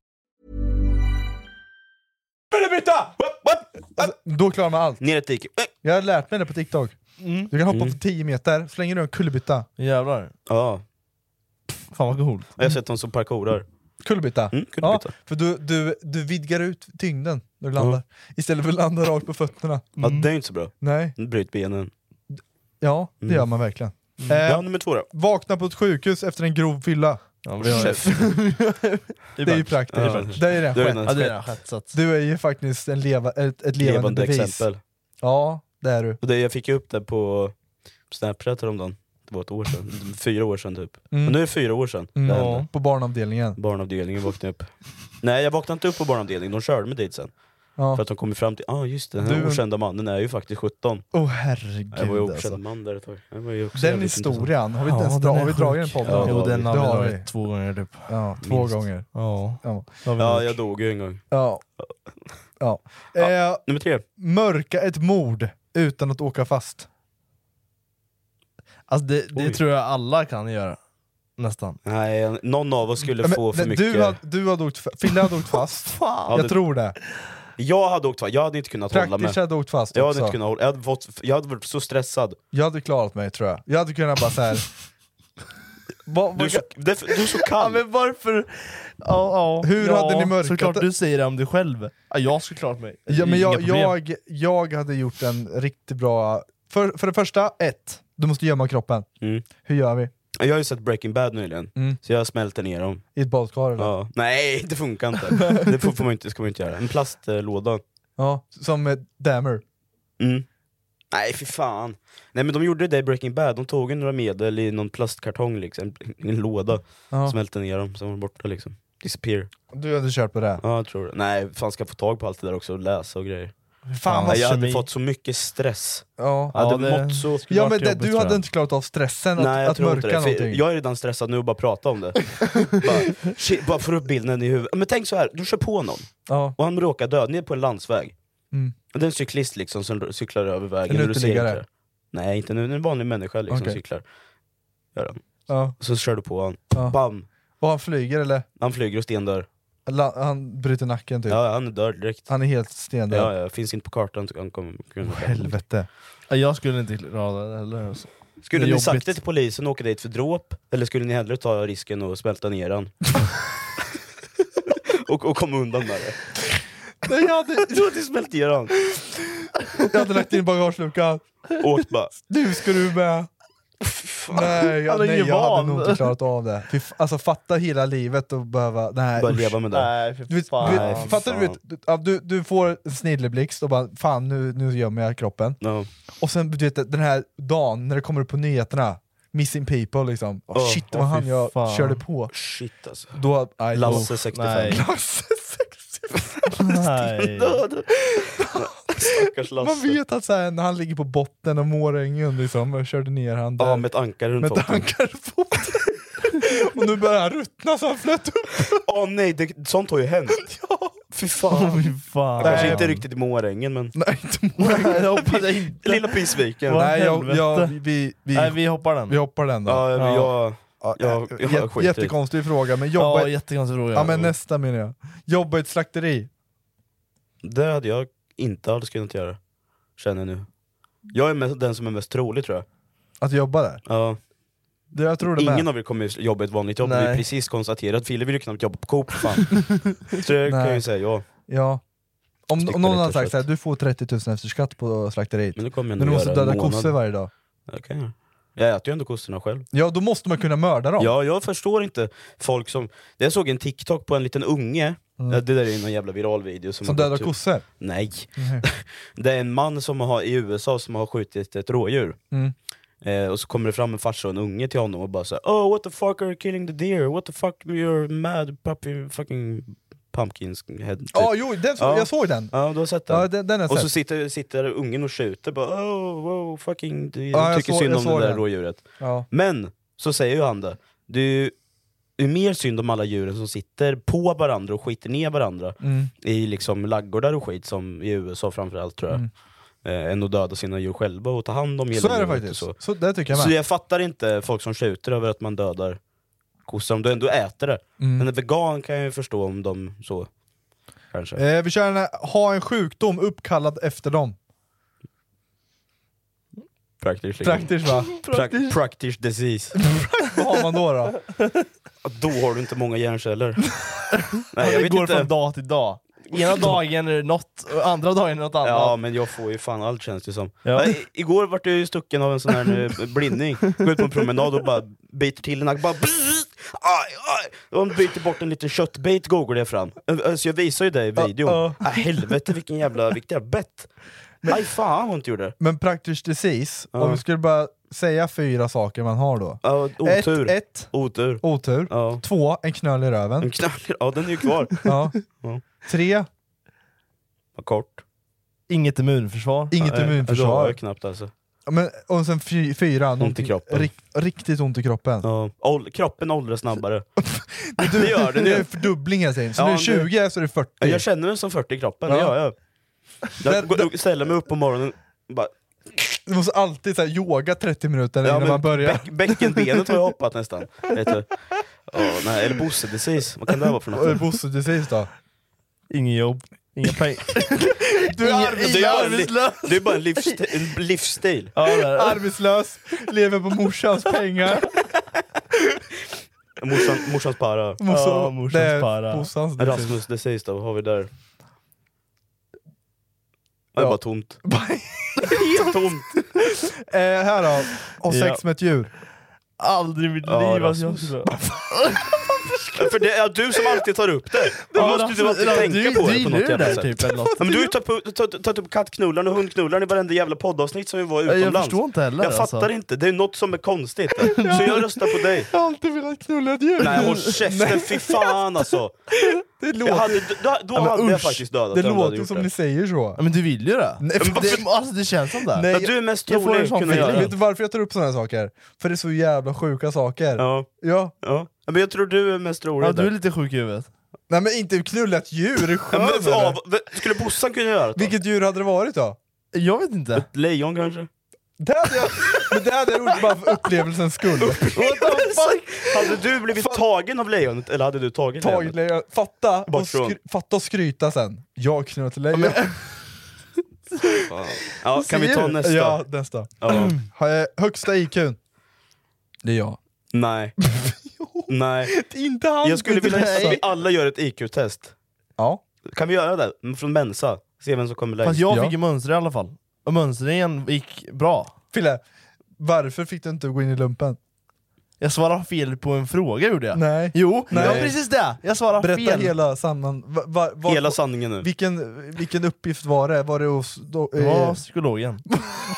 Speaker 1: Alltså, Då klarar man allt. Ner ett dike. Jag har lärt mig det på TikTok. Du kan hoppa
Speaker 3: Mm.
Speaker 1: från 10 meter, slänger du en kullerbytta.
Speaker 9: Jävlar.
Speaker 3: Ja.
Speaker 1: Fan vad coolt.
Speaker 3: Jag har sett dem som parkourar.
Speaker 1: Kullerbytta?
Speaker 3: Mm, kullerbytta.
Speaker 1: Ja, för du, du, du vidgar ut tyngden när du landar, istället för att landa rakt på fötterna.
Speaker 3: Ja, det är inte så bra.
Speaker 1: Nej.
Speaker 3: Bryt benen.
Speaker 1: Ja, det
Speaker 3: Mm.
Speaker 1: gör man verkligen. Eh,
Speaker 3: Mm. Ja, nummer två då.
Speaker 1: Vakna på ett sjukhus efter en grov fylla.
Speaker 3: men det har jag.
Speaker 1: det är ju praktiskt.
Speaker 3: Ja, det är
Speaker 1: det är redan
Speaker 3: det är
Speaker 1: skett.
Speaker 3: redan Ja, det är
Speaker 9: er
Speaker 3: redan skett. skett, så att-
Speaker 1: Du är ju faktiskt en leva, ett, ett levande,
Speaker 3: Levande
Speaker 1: bevis.
Speaker 3: exempel.
Speaker 1: Ja, det är du.
Speaker 3: Och det, jag fick ju upp det på Snapchat häromdagen. Det var ett år sedan. Fyra år sedan typ.
Speaker 1: Mm.
Speaker 3: Men nu är det fyra år sedan
Speaker 1: Mm.
Speaker 3: det
Speaker 1: Ja,
Speaker 3: hände.
Speaker 1: på barnavdelningen.
Speaker 3: Barnavdelningen vaknade upp. Nej jag vaknade inte upp på barnavdelningen, de körde mig dit sen.
Speaker 1: Ja.
Speaker 3: För att de kom ju fram till, ah just det, den här
Speaker 1: Du-
Speaker 3: okända mannen är ju faktiskt 17.
Speaker 1: Åh herregud
Speaker 3: Jag var ju okänd
Speaker 1: alltså.
Speaker 3: man där ett tag. Det var ju också
Speaker 1: Den
Speaker 3: jävligt
Speaker 1: historian, har vi inte
Speaker 9: Ja,
Speaker 1: ens
Speaker 9: den
Speaker 1: dra,
Speaker 9: är
Speaker 1: har vi
Speaker 9: sjuk.
Speaker 1: dragit den podden?
Speaker 3: Ja,
Speaker 9: Jo, den har vi
Speaker 1: dragit
Speaker 9: dragit två gånger typ.
Speaker 1: Ja, två
Speaker 9: Minst.
Speaker 1: gånger.
Speaker 9: Ja.
Speaker 1: Ja.
Speaker 3: Ja jag dog ju en gång.
Speaker 1: Ja. ja. Eh,
Speaker 3: nummer tre.
Speaker 1: Mörka ett mord utan att åka fast.
Speaker 9: Alltså det, det
Speaker 1: Oj.
Speaker 9: tror jag alla kan göra. Nästan.
Speaker 3: Nej, någon av oss skulle
Speaker 1: Men-
Speaker 3: få för
Speaker 1: nej,
Speaker 3: mycket.
Speaker 1: Du hade, du hade åkt, fa- Fille hade åkt fast.
Speaker 3: Ja,
Speaker 1: jag
Speaker 3: det-
Speaker 1: tror det.
Speaker 3: Jag hade åkt fast, jag hade inte kunnat
Speaker 1: Praktiskt
Speaker 3: hålla med.
Speaker 1: hade jag åkt fast
Speaker 3: jag hade
Speaker 1: också.
Speaker 3: inte kunnat hålla, jag hade, fått, jag hade varit så stressad.
Speaker 1: Jag hade klarat mig tror jag. Jag hade kunnat bara såhär...
Speaker 3: Du är så, det, du är så kall.
Speaker 9: men varför? Ja, ja.
Speaker 1: Hur
Speaker 9: ja,
Speaker 1: hade ni mörkat
Speaker 9: Såklart
Speaker 1: det?
Speaker 9: du säger det om dig själv. Ja, jag skulle klart mig.
Speaker 1: Ja, men
Speaker 9: Inga
Speaker 1: jag,
Speaker 9: problem.
Speaker 1: jag, jag hade gjort en riktigt bra... För, för det första, ett, du måste gömma kroppen.
Speaker 3: Mm.
Speaker 1: Hur gör vi?
Speaker 3: Jag har ju sett Breaking Bad nyligen,
Speaker 1: Mm.
Speaker 3: så jag smälter ner dem.
Speaker 1: I ett badkar eller?
Speaker 3: Ja. Nej, det funkar inte. det får, får man inte, ska man inte göra. En plastlåda.
Speaker 1: Ja, som eh, Dammer.
Speaker 3: Mm. Nej fy fan. Nej men de gjorde det i Breaking Bad, de tog ju några medel i någon plastkartong liksom, i en låda,
Speaker 1: Ja.
Speaker 3: smälte ner dem, sen var de borta liksom. Disappear.
Speaker 1: Du hade kört på det?
Speaker 3: Ja jag tror det. Nej, fan ska jag få tag på allt det där också och läsa och grejer.
Speaker 1: vad
Speaker 3: Nej, jag hade
Speaker 1: kemi.
Speaker 3: fått så mycket stress.
Speaker 1: Ja.
Speaker 3: Jag hade mått så...
Speaker 1: ja men det, du hade inte klarat av stressen att,
Speaker 3: Nej, jag
Speaker 1: att
Speaker 3: tror
Speaker 1: mörka
Speaker 3: inte det. För
Speaker 1: någonting.
Speaker 3: jag är redan stressad nu och bara prata om det. bara, shit, bara får upp bilden i huvudet. Men tänk så här, du kör på någon,
Speaker 1: Ja.
Speaker 3: och han råkar dö, ni är på en landsväg.
Speaker 1: Mm.
Speaker 3: Och det är en cyklist liksom som cyklar över vägen.
Speaker 1: En
Speaker 3: och du ser
Speaker 1: uteliggare.
Speaker 3: inte det. Nej, inte nu. Det är en vanlig människa liksom
Speaker 1: Okej.
Speaker 3: som cyklar. Gör han.
Speaker 1: Ja.
Speaker 3: Och så kör du på honom.
Speaker 1: Ja.
Speaker 3: Bam!
Speaker 1: Och han flyger eller?
Speaker 3: Han flyger och stendör.
Speaker 1: La- Han bryter nacken typ.
Speaker 3: Ja, han är död direkt.
Speaker 1: Han är helt stendöd.
Speaker 3: Ja, ja, finns inte på kartan. så Han kommer, kommer.
Speaker 1: Helvete.
Speaker 9: Ja, Jag skulle inte klara det heller. alltså.
Speaker 3: Skulle
Speaker 9: Det är
Speaker 3: ni sagt
Speaker 9: jobbigt.
Speaker 3: det till polisen och åka dit för dråp? Eller skulle ni hellre ta risken och smälta ner han? och, och komma undan med det?
Speaker 1: Nej, jag, hade,
Speaker 3: Du hade smält ner han.
Speaker 1: jag hade lagt in bagageluckan.
Speaker 3: Åkt bara.
Speaker 1: Du ska du med! Nej, jag,
Speaker 9: Han är
Speaker 1: nej,
Speaker 9: ju
Speaker 1: jag hade
Speaker 9: van.
Speaker 1: nog inte klarat av det. Fy f- Alltså fatta hela livet och behöva... Nej,
Speaker 3: Bara
Speaker 1: usch.
Speaker 3: leva med det.
Speaker 9: Nej, för
Speaker 1: Du vet,
Speaker 9: fan.
Speaker 1: du
Speaker 3: Nej,
Speaker 1: vet,
Speaker 3: fy
Speaker 1: fattar du,
Speaker 3: fan.
Speaker 1: vet, du- ja, du, du får en snilleblixt och bara fan nu, nu gömmer jag kroppen.
Speaker 3: Ja.
Speaker 1: Och sen du vet, den här dagen när det kommer upp på nyheterna, missing people liksom.
Speaker 3: Ja.
Speaker 1: shit
Speaker 3: Ja,
Speaker 1: vad han
Speaker 3: fy
Speaker 1: jag
Speaker 3: fan.
Speaker 1: körde på.
Speaker 3: Shit alltså.
Speaker 1: Då, nej, då-
Speaker 3: Lasse 65.
Speaker 9: Nej.
Speaker 1: Lasse 65!
Speaker 9: Nej.
Speaker 3: Död. Stackars Lasse.
Speaker 1: Man vet att så här, när han ligger på botten av Mårängen liksom, och körde ner han där.
Speaker 3: Ja, med ett ankare runt
Speaker 1: Med
Speaker 3: foten.
Speaker 1: Och nu börjar han ruttna så han flöt upp.
Speaker 3: Åh nej, det, sånt har ju hänt. Fy fan.
Speaker 9: Fy fan.
Speaker 3: Jag kanske
Speaker 9: Nej.
Speaker 3: inte riktigt i Mårängen men...
Speaker 1: Nej, inte
Speaker 9: Nej, jag hoppas jag inte.
Speaker 3: Lilla Pysviken.
Speaker 9: Vad
Speaker 1: Nej, jag,
Speaker 9: helvete.
Speaker 1: jag, vi, vi,
Speaker 9: Nej, vi hoppar den.
Speaker 1: vi hoppar den då.
Speaker 3: Ja, jag, jag,
Speaker 1: Ja,
Speaker 3: jag,
Speaker 1: jä-
Speaker 3: jag, jag skiter i det.
Speaker 1: jättekonstig fråga, men jobba...
Speaker 9: Ja, jättekonstig fråga.
Speaker 1: ja men nästa menar jag. Jobba i ett slakteri.
Speaker 3: Det hade jag inte alls kunnat göra, känner jag nu. Jag är mest, den som är mest trolig tror jag.
Speaker 1: Att jobba där.
Speaker 3: Ja.
Speaker 1: Det, jag tror det
Speaker 3: Ingen
Speaker 1: med.
Speaker 3: av er kommer ju jobba ett vanligt jobb,
Speaker 9: Nej.
Speaker 3: vi har precis konstaterat. Fille vill ju knappt jobba på Coop fan. Så jag kan
Speaker 1: Nej.
Speaker 3: ju säga ja.
Speaker 1: Ja. Om,
Speaker 3: Stycka
Speaker 1: om någon
Speaker 3: lite
Speaker 1: hade sagt
Speaker 3: kött.
Speaker 1: såhär, du får 30 000 efter skatt på slakteriet.
Speaker 3: Men det kommer jag
Speaker 1: Men
Speaker 3: nog
Speaker 1: du måste
Speaker 3: göra en
Speaker 1: döda
Speaker 3: månad.
Speaker 1: kossor varje dag.
Speaker 3: Jag kan göra. Jag äter ju ändå kossorna själv.
Speaker 1: Ja, då måste man kunna mörda dem.
Speaker 3: Ja, jag förstår inte folk som... Jag såg en TikTok på en liten unge Ja, Det där är någon jävla viral video som,
Speaker 1: Mm.
Speaker 3: har
Speaker 1: Som dödar
Speaker 3: gått ut.
Speaker 1: kossor?
Speaker 3: Nej. det är en man som har, i USA som har skjutit ett rådjur.
Speaker 1: Mm.
Speaker 3: Eh, och så kommer det fram en farsa och en unge till honom och bara säger Oh what the fuck are you killing the deer? What the fuck you're mad puppy fucking pumpkins head? Typ.
Speaker 1: Ja, jo, den så,
Speaker 3: Ja.
Speaker 1: jag såg den.
Speaker 3: Ja, du har sett
Speaker 1: den. Ja, den, den har jag
Speaker 3: Och så
Speaker 1: sett.
Speaker 3: sitter, sitter ungen och skjuter bara oh, wow, fucking, du
Speaker 1: Ja, jag
Speaker 3: tycker
Speaker 1: såg-
Speaker 3: synd
Speaker 1: jag
Speaker 3: om det
Speaker 1: såg
Speaker 3: där
Speaker 1: den.
Speaker 3: rådjuret.
Speaker 1: Ja.
Speaker 3: Men, så säger ju han det, det är ju det är mer synd om alla djuren som sitter på varandra och skiter ner varandra
Speaker 1: Mm.
Speaker 3: i liksom laggårdar och skit, som i USA framförallt tror jag. Eh, än att döda sina djur själva och ta hand om
Speaker 1: Mm. Så är det
Speaker 3: djuret och
Speaker 1: faktiskt. Så. det tycker jag med.
Speaker 3: Så jag fattar inte folk som tjuter över att man dödar kossor om du ändå äter det.
Speaker 1: Mm.
Speaker 3: Men en vegan kan jag ju förstå om de så, kanske.
Speaker 1: Eh, vi kör en, eh, ha en sjukdom uppkallad efter dem.
Speaker 3: Praktiskt. liksom.
Speaker 1: Praktiskt, va?
Speaker 3: Pra- praktiskt disease.
Speaker 1: Vad har man då? då?
Speaker 3: Då har du inte många hjärnceller.
Speaker 9: Nej, det går från dag till dag. Ena dagen är det något, och andra dagen är det något annat.
Speaker 3: Ja men jag får ju fan allt känns det som.
Speaker 9: Ja.
Speaker 3: I, igår vart jag ju stucken av en sån här eh, blindning. Går ut på en promenad och bara biter till en nack, bara bzzz, aj, aj. De biter bort en liten köttbit googlar jag fram. Eh, eh, Så jag visar ju dig i videon.
Speaker 1: ja.
Speaker 3: Ah, helvete vilken jävla, vilket jävla bett! Nej fan vad ont det gjorde.
Speaker 1: Men praktiskt disease,
Speaker 3: Ja.
Speaker 1: om vi skulle bara säga fyra saker man har då.
Speaker 3: Ja, otur.
Speaker 1: Ett, ett
Speaker 3: Otur.
Speaker 1: otur.
Speaker 3: Ja.
Speaker 1: Två, en knöl i röven.
Speaker 3: En knall, ja den är ju kvar.
Speaker 1: Ja. Tre,
Speaker 3: Vad Kort.
Speaker 9: Inget immunförsvar.
Speaker 1: Inget
Speaker 3: Eh,
Speaker 1: immunförsvar.
Speaker 3: då har jag knappt alltså.
Speaker 1: ja, men, och sen fy, fyra,
Speaker 3: Ont i kroppen.
Speaker 1: rikt- riktigt ont i kroppen.
Speaker 3: Ja. Ål- kroppen åldras snabbare. det gör den
Speaker 1: Det är
Speaker 3: ju.
Speaker 1: en fördubbling hela tiden. Så
Speaker 3: Ja,
Speaker 1: nu är
Speaker 3: det-
Speaker 1: 20 så är det 40.
Speaker 3: Ja, Jag känner mig som 40 i kroppen, det
Speaker 1: Ja.
Speaker 3: gör jag. Jag går- jag ställer mig upp på morgonen och bara
Speaker 1: Du måste alltid så här, yoga 30 minuter innan
Speaker 3: men
Speaker 1: man börjar.
Speaker 3: Bäck, bäckenbenet har jag hoppat nästan. Vet du. Ja, nej, eller Bosse-decis, vad kan det vara för
Speaker 1: Och
Speaker 3: något?
Speaker 1: Bosse, du säger då?
Speaker 9: Ingen jobb, inga pengar.
Speaker 1: Du är
Speaker 3: Det är bara en li-
Speaker 1: arbetslös!
Speaker 3: Det är bara en livsstil. En livsstil.
Speaker 9: Ja, det är det.
Speaker 1: Arbetslös, lever på morsans pengar.
Speaker 3: Morsan, morsans para.
Speaker 1: Morsan- Ja, morsans Alltså, det är para. morsans decis.
Speaker 3: Rasmus decis då, vad har vi där? Det är bara tomt. Helt tomt.
Speaker 1: eh, här då, och sex
Speaker 3: Ja.
Speaker 1: med ett djur.
Speaker 9: Aldrig i mitt
Speaker 3: Ja,
Speaker 9: liv alltså. Jag
Speaker 3: Rasmus.
Speaker 9: skulle...
Speaker 3: För det är du som alltid tar upp det. Du
Speaker 9: Ja,
Speaker 3: måste du
Speaker 9: Rasmus,
Speaker 3: alltid
Speaker 9: ja,
Speaker 3: tänka
Speaker 9: du-
Speaker 3: på
Speaker 9: du
Speaker 3: det på
Speaker 9: gillar
Speaker 3: något
Speaker 9: det
Speaker 3: jävla
Speaker 9: där
Speaker 3: sätt.
Speaker 9: typ, eller något.
Speaker 3: Ja, men du har ju tagit upp- tagit- tagit upp kattknullaren och hundknullaren i varenda jävla poddavsnitt som vi var
Speaker 9: jag
Speaker 3: utomlands.
Speaker 9: förstår inte heller,
Speaker 3: Jag
Speaker 9: alltså.
Speaker 3: fattar inte, det är något som är konstigt. Så jag röstar på dig.
Speaker 1: Jag har alltid velat knulla ett djur.
Speaker 3: Nej håll käften, fy fan alltså!
Speaker 1: Det
Speaker 3: Jag hade,
Speaker 1: låter,
Speaker 3: då då
Speaker 9: Ja, men
Speaker 3: hade jag
Speaker 9: usch,
Speaker 3: faktiskt dödat
Speaker 1: det
Speaker 3: dig om du hade
Speaker 1: låter
Speaker 3: gjort
Speaker 1: som
Speaker 3: det.
Speaker 1: ni säger så.
Speaker 9: Ja, men du vill ju det.
Speaker 1: Nej,
Speaker 9: Ja, men
Speaker 1: för-
Speaker 9: det, alltså, det känns som det.
Speaker 1: Nej,
Speaker 3: Ja,
Speaker 1: jag-
Speaker 3: du är mest
Speaker 9: jag får
Speaker 3: trolig
Speaker 9: en
Speaker 3: att
Speaker 9: sån
Speaker 3: kunna
Speaker 9: feeling.
Speaker 3: göra
Speaker 1: Vet
Speaker 3: det.
Speaker 1: du varför jag tar upp sådana här saker? För det är så jävla sjuka saker.
Speaker 3: Ja.
Speaker 1: Ja.
Speaker 3: Ja. Men jag tror du är mest trolig
Speaker 9: Ja,
Speaker 3: där.
Speaker 9: du är lite sjuk i huvudet.
Speaker 1: Nej men inte knulla ett djur, är du
Speaker 3: Ja,
Speaker 1: skön,
Speaker 3: men,
Speaker 1: eller?
Speaker 3: ja, vad- skulle Bossan kunna göra det? då?
Speaker 1: Vilket djur hade det varit då?
Speaker 9: Jag vet inte.
Speaker 3: Ett lejon kanske?
Speaker 1: Det hade jag, men det hade jag gjort bara för upplevelsens skull.
Speaker 3: Alltså, hade du blivit tagen av lejonet eller hade du tagit lejonet?
Speaker 1: Tagit lejon, fatta och,
Speaker 3: Bort från.
Speaker 1: skry, fatta och skryta sen. Jag har knullat ett lejon.
Speaker 3: Ja, kan vi ta nästa?
Speaker 1: Ja, nästa.
Speaker 3: Ja.
Speaker 1: Har jag högsta IQn? Det är jag.
Speaker 3: Nej. Nej.
Speaker 1: Inte han!
Speaker 3: Jag skulle vilja
Speaker 1: Nej.
Speaker 3: att vi alla gör ett IQ-test.
Speaker 1: Ja.
Speaker 3: Kan vi göra det? Mm, Från Mensa? Se vem som kommer längst.
Speaker 9: Fast jag fick ju mönstra i alla fall. Och mönstringen gick bra.
Speaker 1: Fille, varför fick du inte gå in i lumpen?
Speaker 9: Jag svarade fel på en fråga gjorde jag.
Speaker 1: Nej.
Speaker 9: Jo,
Speaker 1: Nej.
Speaker 9: det var precis det! Jag svarade
Speaker 1: Berätta
Speaker 9: fel.
Speaker 1: hela sanningen. Va, va, va,
Speaker 3: Hela sanningen nu.
Speaker 1: vilken, vilken uppgift var det? Var det hos... Då,
Speaker 9: Det var
Speaker 1: eh,
Speaker 9: psykologen.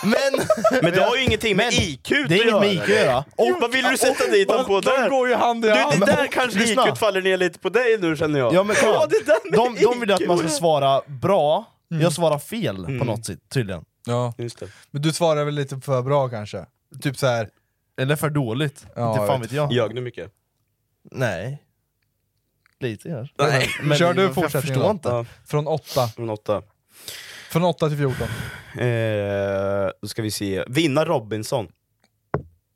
Speaker 9: men!
Speaker 3: Men det har ju ingenting med
Speaker 9: Men
Speaker 3: IQ att göra.
Speaker 9: det är inget med IQ att göra.
Speaker 3: Och, vad vill du sätta dit dem på
Speaker 1: de
Speaker 3: där?
Speaker 1: går ju hand i
Speaker 3: Du,
Speaker 1: hand.
Speaker 3: det där
Speaker 9: Men-
Speaker 3: kanske
Speaker 9: lyssna.
Speaker 3: IQ faller ner lite på dig nu känner jag.
Speaker 9: Ja, men, kolla.
Speaker 3: ja, det där med
Speaker 9: de, de vill ju att man ska
Speaker 3: IQ.
Speaker 9: svara bra,
Speaker 1: Mm.
Speaker 9: jag svarar fel på något sätt tydligen.
Speaker 1: ja.
Speaker 3: Just det.
Speaker 1: Men du svarar väl lite för bra kanske? Typ så här.
Speaker 9: Eller för dåligt,
Speaker 1: Ja,
Speaker 9: inte
Speaker 1: jag
Speaker 9: fan vet jag.
Speaker 3: Ljög du mycket?
Speaker 9: Nej. Lite kanske.
Speaker 3: Nej.
Speaker 9: Men-
Speaker 1: Kör du
Speaker 9: men Jag
Speaker 1: fortsättningen
Speaker 9: förstår
Speaker 1: då?
Speaker 9: inte.
Speaker 3: Ja,
Speaker 1: Från 8.
Speaker 3: från åtta.
Speaker 1: Från 8 till 14.
Speaker 3: Eh, då ska vi se. Vinna Robinson.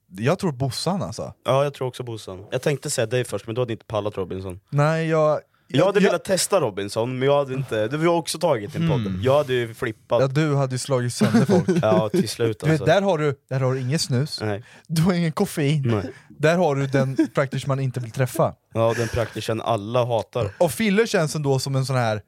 Speaker 1: Jag tror Bossan alltså.
Speaker 3: Ja, jag tror också Bossan. Jag tänkte säga dig först, men du hade inte pallat Robinson.
Speaker 1: Nej, jag...
Speaker 3: Jag hade velat testa Robinson, men jag hade inte... Du har också tagit din
Speaker 9: Mm.
Speaker 3: podd. Jag hade ju flippat.
Speaker 1: Ja, du hade ju slagit sönder folk.
Speaker 3: Ja, till slut
Speaker 1: Du vet,
Speaker 3: alltså.
Speaker 1: där har du, där har du ingen snus,
Speaker 3: Nej.
Speaker 1: du har ingen koffein,
Speaker 3: Nej.
Speaker 1: där har du den praktiskt man inte vill träffa.
Speaker 3: Ja, den praktischen alla hatar.
Speaker 1: Och Fille känns ändå som en sån här...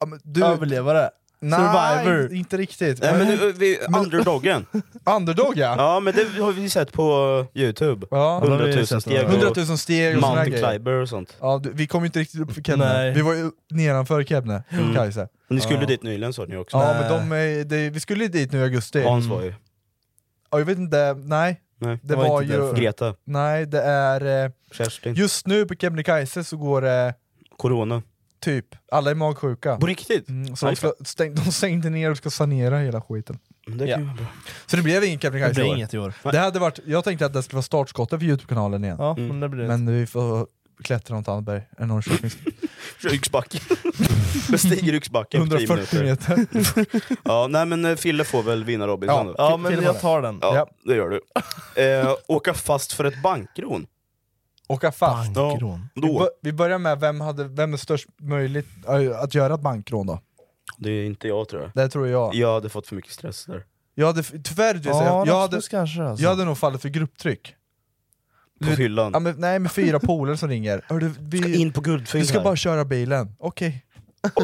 Speaker 1: ja, men Du,
Speaker 9: Överlevare.
Speaker 3: Survivor.
Speaker 1: Nej, inte riktigt.
Speaker 3: Nej, men nu, vi, underdogen.
Speaker 1: Underdog ja.
Speaker 3: Ja men det har vi sett på youtube. Ja,
Speaker 1: det har vi
Speaker 3: 100 000
Speaker 1: sett,
Speaker 3: steg.
Speaker 1: ja.
Speaker 3: och
Speaker 1: 100 000 steg och såna
Speaker 3: Mountain
Speaker 1: grejer.
Speaker 3: climber och sånt.
Speaker 1: Ja, du, vi kom ju inte riktigt upp för Kebne.
Speaker 3: Nej.
Speaker 1: Vi var ju nedanför Kebne,
Speaker 3: Mm.
Speaker 1: Kebnekaise.
Speaker 3: Ni skulle
Speaker 1: ja.
Speaker 3: dit nyligen sa ni också.
Speaker 1: Ja, men de, är- det- vi skulle ju dit nu i augusti.
Speaker 3: Hans var ju.
Speaker 1: Ja, jag vet inte, nej.
Speaker 3: Nej,
Speaker 1: det
Speaker 3: det var
Speaker 1: var
Speaker 3: inte
Speaker 1: ju...
Speaker 3: därför. Greta.
Speaker 1: Nej, det är... eh,
Speaker 3: Kerstin.
Speaker 1: Just nu på Kebnekaise så går det...
Speaker 3: Corona.
Speaker 1: Typ. Alla är magsjuka.
Speaker 3: På riktigt?
Speaker 1: Mm, så
Speaker 3: Nej,
Speaker 1: de, ska, stäng, de stängde ner och ska sanera hela skiten.
Speaker 3: Det kan ju vara bra.
Speaker 1: Så det blev ingen Kebnekaise
Speaker 9: Det blir
Speaker 1: i år.
Speaker 9: inget i år.
Speaker 1: Det hade varit, jag tänkte att det skulle vara startskottet för Youtube-kanalen igen.
Speaker 9: Ja, Mm. men det blir det
Speaker 1: Men vi får klättra något annat berg än Norrköpings.
Speaker 3: Yxbacken. Bestiger yxbacken på 10
Speaker 1: 140
Speaker 3: minuter. ja, nej men eh, Fille får väl vinna Robinson
Speaker 9: Ja,
Speaker 3: då.
Speaker 9: Fi- Ja, men Fille jag får det. tar den.
Speaker 3: Ja,
Speaker 9: Ja.
Speaker 3: det gör du. Eh, åka fast för ett bankrån.
Speaker 1: Åka fast.
Speaker 3: Bankrån.
Speaker 1: Vi,
Speaker 3: Då.
Speaker 1: bör- vi börjar med vem, hade, vem är störst möjligt äh, att göra ett bankrån då?
Speaker 3: Det är inte jag tror jag.
Speaker 1: Det tror jag.
Speaker 3: Jag hade fått för mycket stress där.
Speaker 1: Jag hade, f- tyvärr du,
Speaker 9: Ja,
Speaker 1: jag, jag, hade,
Speaker 9: Rasmus kanske, alltså.
Speaker 1: jag hade nog fallit för grupptryck.
Speaker 3: På fyllan.
Speaker 1: Ja, men, nej, med fyra polare som ringer. Hörru, vi, ska
Speaker 3: in på guldfynd
Speaker 1: Du ska
Speaker 3: här.
Speaker 1: bara köra bilen, okej.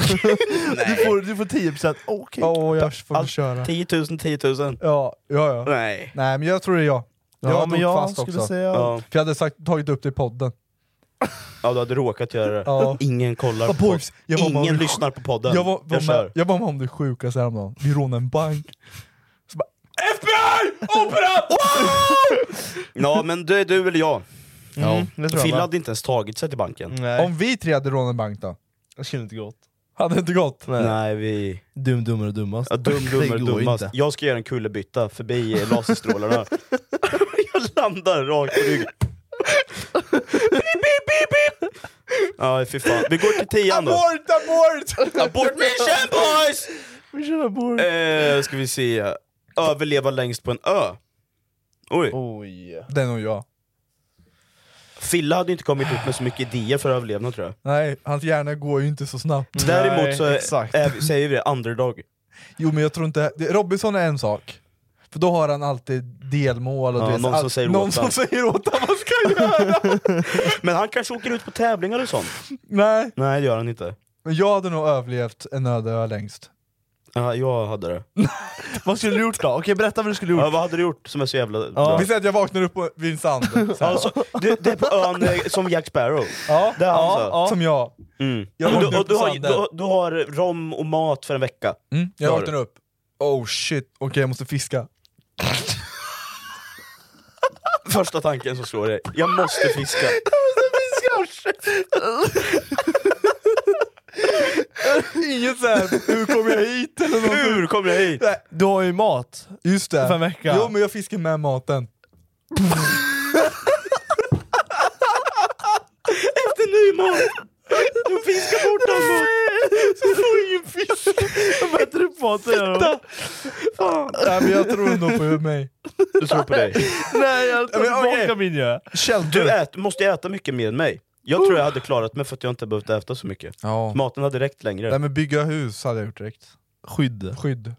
Speaker 9: Du får, du får 10%, okej.
Speaker 1: Åh, jag får
Speaker 9: Allt-
Speaker 1: köra.
Speaker 3: 10 000, 10 000.
Speaker 1: Ja, ja, ja.
Speaker 3: Nej.
Speaker 1: Nej men jag tror det är jag.
Speaker 3: Ja,
Speaker 1: jag har
Speaker 3: men
Speaker 1: nog
Speaker 3: jag
Speaker 1: fast
Speaker 3: skulle
Speaker 1: också.
Speaker 3: säga- Ja.
Speaker 1: För jag hade sagt, tagit upp det i podden.
Speaker 3: Ja, du hade råkat göra det.
Speaker 1: Ja.
Speaker 3: Ingen kollar
Speaker 1: Ja,
Speaker 3: på podden.
Speaker 1: boys, jag var med
Speaker 3: Ingen
Speaker 1: om-
Speaker 3: lyssnar på podden.
Speaker 1: Jag var, var
Speaker 3: jag
Speaker 1: med,
Speaker 3: kör.
Speaker 1: jag var med om det sjukaste häromdagen. Vi rånade en bank.
Speaker 3: FBI! Opera! ja, men det är du eller jag.
Speaker 1: Mm, det tror jag,
Speaker 3: Fille
Speaker 1: va?
Speaker 3: hade inte ens tagit sig till banken.
Speaker 1: Om vi tre hade rånat en bank då?
Speaker 9: Det skulle inte gått.
Speaker 1: Hade inte gått?
Speaker 3: Nej, vi...
Speaker 9: Dum, dummare och dummast.
Speaker 3: Ja, dum, dummer,
Speaker 9: det går
Speaker 3: dummast.
Speaker 9: inte.
Speaker 3: Jag ska göra en kullerbytta förbi eh, laserstrålarna. jag landar rakt på ryggen. Ja, fy fan. Vi går till tian då.
Speaker 1: Abort, abort!
Speaker 3: Abort mission boys!
Speaker 9: Vi kör abort.
Speaker 3: Eh, ska vi se. Överleva längst på en ö. Oj.
Speaker 9: Oj.
Speaker 1: Det är nog jag.
Speaker 3: Fille hade inte kommit upp med så mycket idéer för överlevnad tror jag.
Speaker 1: Nej, hans hjärna går ju inte så snabbt.
Speaker 3: Däremot så är, säger vi det, underdog.
Speaker 1: Jo men jag tror inte... det- Robinson är en sak. För då har han alltid delmål och
Speaker 3: Ja,
Speaker 1: du vet,
Speaker 3: någon som
Speaker 1: all-
Speaker 3: säger
Speaker 1: någon
Speaker 3: åt
Speaker 1: som
Speaker 3: han.
Speaker 1: säger åt honom vad han ska göra!
Speaker 3: Men han kanske åker ut på tävlingar och sånt?
Speaker 1: Nej.
Speaker 3: Nej det gör han inte.
Speaker 1: Men jag hade nog överlevt en öde ö längst.
Speaker 3: Ja, jag hade det.
Speaker 9: Vad skulle du gjort då? Okej, berätta vad du skulle gjort.
Speaker 3: Ja, vad hade du gjort som är så jävla
Speaker 1: Ja.
Speaker 3: bra?
Speaker 1: Vi säger att jag vaknar upp på- vid en sand. Så här.
Speaker 3: Alltså, det, det är på ön eh, som Jack Sparrow.
Speaker 1: Ja,
Speaker 3: Det är han
Speaker 1: ja,
Speaker 3: så.
Speaker 1: ja. Som jag.
Speaker 3: Mm.
Speaker 1: Jag
Speaker 3: Och
Speaker 1: vaknade
Speaker 3: du, och
Speaker 1: upp
Speaker 3: du,
Speaker 1: på
Speaker 3: har,
Speaker 1: sanden.
Speaker 3: du, du har rom och mat för en vecka.
Speaker 1: Mm,
Speaker 3: Det
Speaker 1: jag
Speaker 3: har
Speaker 1: vaknar
Speaker 3: du.
Speaker 1: upp. Oh shit, okej jag måste fiska.
Speaker 3: Första tanken som slår dig, jag måste fiska.
Speaker 1: Inget såhär, hur kom jag hit? Eller något.
Speaker 3: Hur kom jag hit?
Speaker 1: Nej,
Speaker 9: Du har ju mat.
Speaker 1: Just det.
Speaker 9: För en vecka.
Speaker 1: Jo men jag fiskar med maten.
Speaker 3: Efter ny mat! Du fiskar bort all mat!
Speaker 9: Du får ingen fisk. Jag äter upp maten. Titta!
Speaker 1: Nej men jag tror nog på mig.
Speaker 3: Du tror på dig.
Speaker 9: Nej, jag tar
Speaker 3: Men okej.
Speaker 9: tillbaka min ju.
Speaker 3: Du ät, måste äta mycket mer än mig. Jag tror jag hade klarat mig för att jag inte behövt äta så mycket.
Speaker 1: Ja.
Speaker 3: Maten hade räckt längre.
Speaker 1: Nej men bygga hus hade jag gjort direkt.
Speaker 9: Skydd.
Speaker 1: Skydd.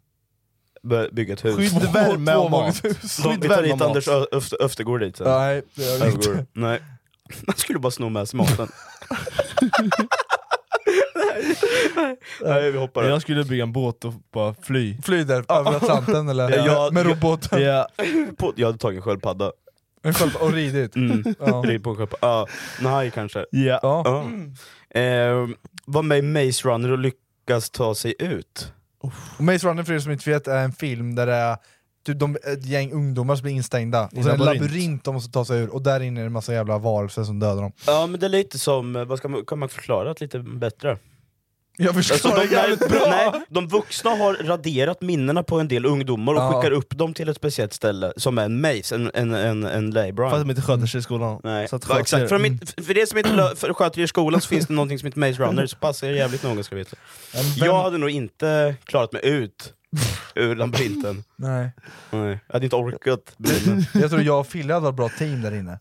Speaker 3: Bör- Bygga ett hus.
Speaker 9: Skydd, värme och mat.
Speaker 1: Tvåvåningshus.
Speaker 3: De, vi
Speaker 9: Skydd,
Speaker 3: tar
Speaker 9: värme
Speaker 3: hit
Speaker 9: och mat.
Speaker 3: Anders Ö- Öfter- Öftergård dit sen.
Speaker 1: Nej, det gör jag
Speaker 3: Övergår.
Speaker 1: inte.
Speaker 3: Nej. Man skulle bara sno med sig maten. nej, nej. nej, vi hoppar
Speaker 9: Jag skulle bygga en båt och bara fly.
Speaker 1: Fly där över Atlanten eller?
Speaker 3: Ja, jag-
Speaker 1: med roboten.
Speaker 9: Ja.
Speaker 3: på. Jag hade tagit en sköldpadda.
Speaker 1: En sköld och ridit.
Speaker 3: Mm.
Speaker 1: Ja.
Speaker 3: Rid på en sköldpadda. Ja, en haj kanske.
Speaker 9: Ja.
Speaker 1: Ja.
Speaker 3: Ja. Eh, var med i Maze Runner och lyckas ta sig ut.
Speaker 1: Och Maze Runner för er som inte vet är en film där det är typ de, ett gäng ungdomar som blir instängda, och
Speaker 9: en
Speaker 1: så är det en
Speaker 9: labyrint.
Speaker 1: labyrint de måste ta sig ur, och där inne är det en massa jävla varelser som dödar dem.
Speaker 3: Ja men det är lite som, eh, vad ska man, kan man förklara det lite bättre?
Speaker 1: Jag
Speaker 3: Alltså,
Speaker 1: förstår
Speaker 3: de,
Speaker 1: det jävligt
Speaker 3: nej,
Speaker 1: bra!
Speaker 3: nej, de vuxna har raderat minnena på en del ungdomar och
Speaker 1: Ja.
Speaker 3: skickar upp dem till ett speciellt ställe som är en maze, en, en, en, en labyrint.
Speaker 9: För att de inte sköter sig i skolan.
Speaker 3: Nej,
Speaker 9: Så att
Speaker 3: ja,
Speaker 9: sköter-
Speaker 3: exakt. För, de
Speaker 1: Mm.
Speaker 3: inte, för- för det som inte lö- för sköter er i skolan så finns det någonting som heter Maze Runner, så passar er jävligt noga ska veta.
Speaker 1: vem-
Speaker 3: Jag hade nog inte klarat mig ut ur labyrinten.
Speaker 1: Nej.
Speaker 3: Nej, jag hade inte orkat. bry mig.
Speaker 1: Jag tror jag och Fille hade varit bra team där inne.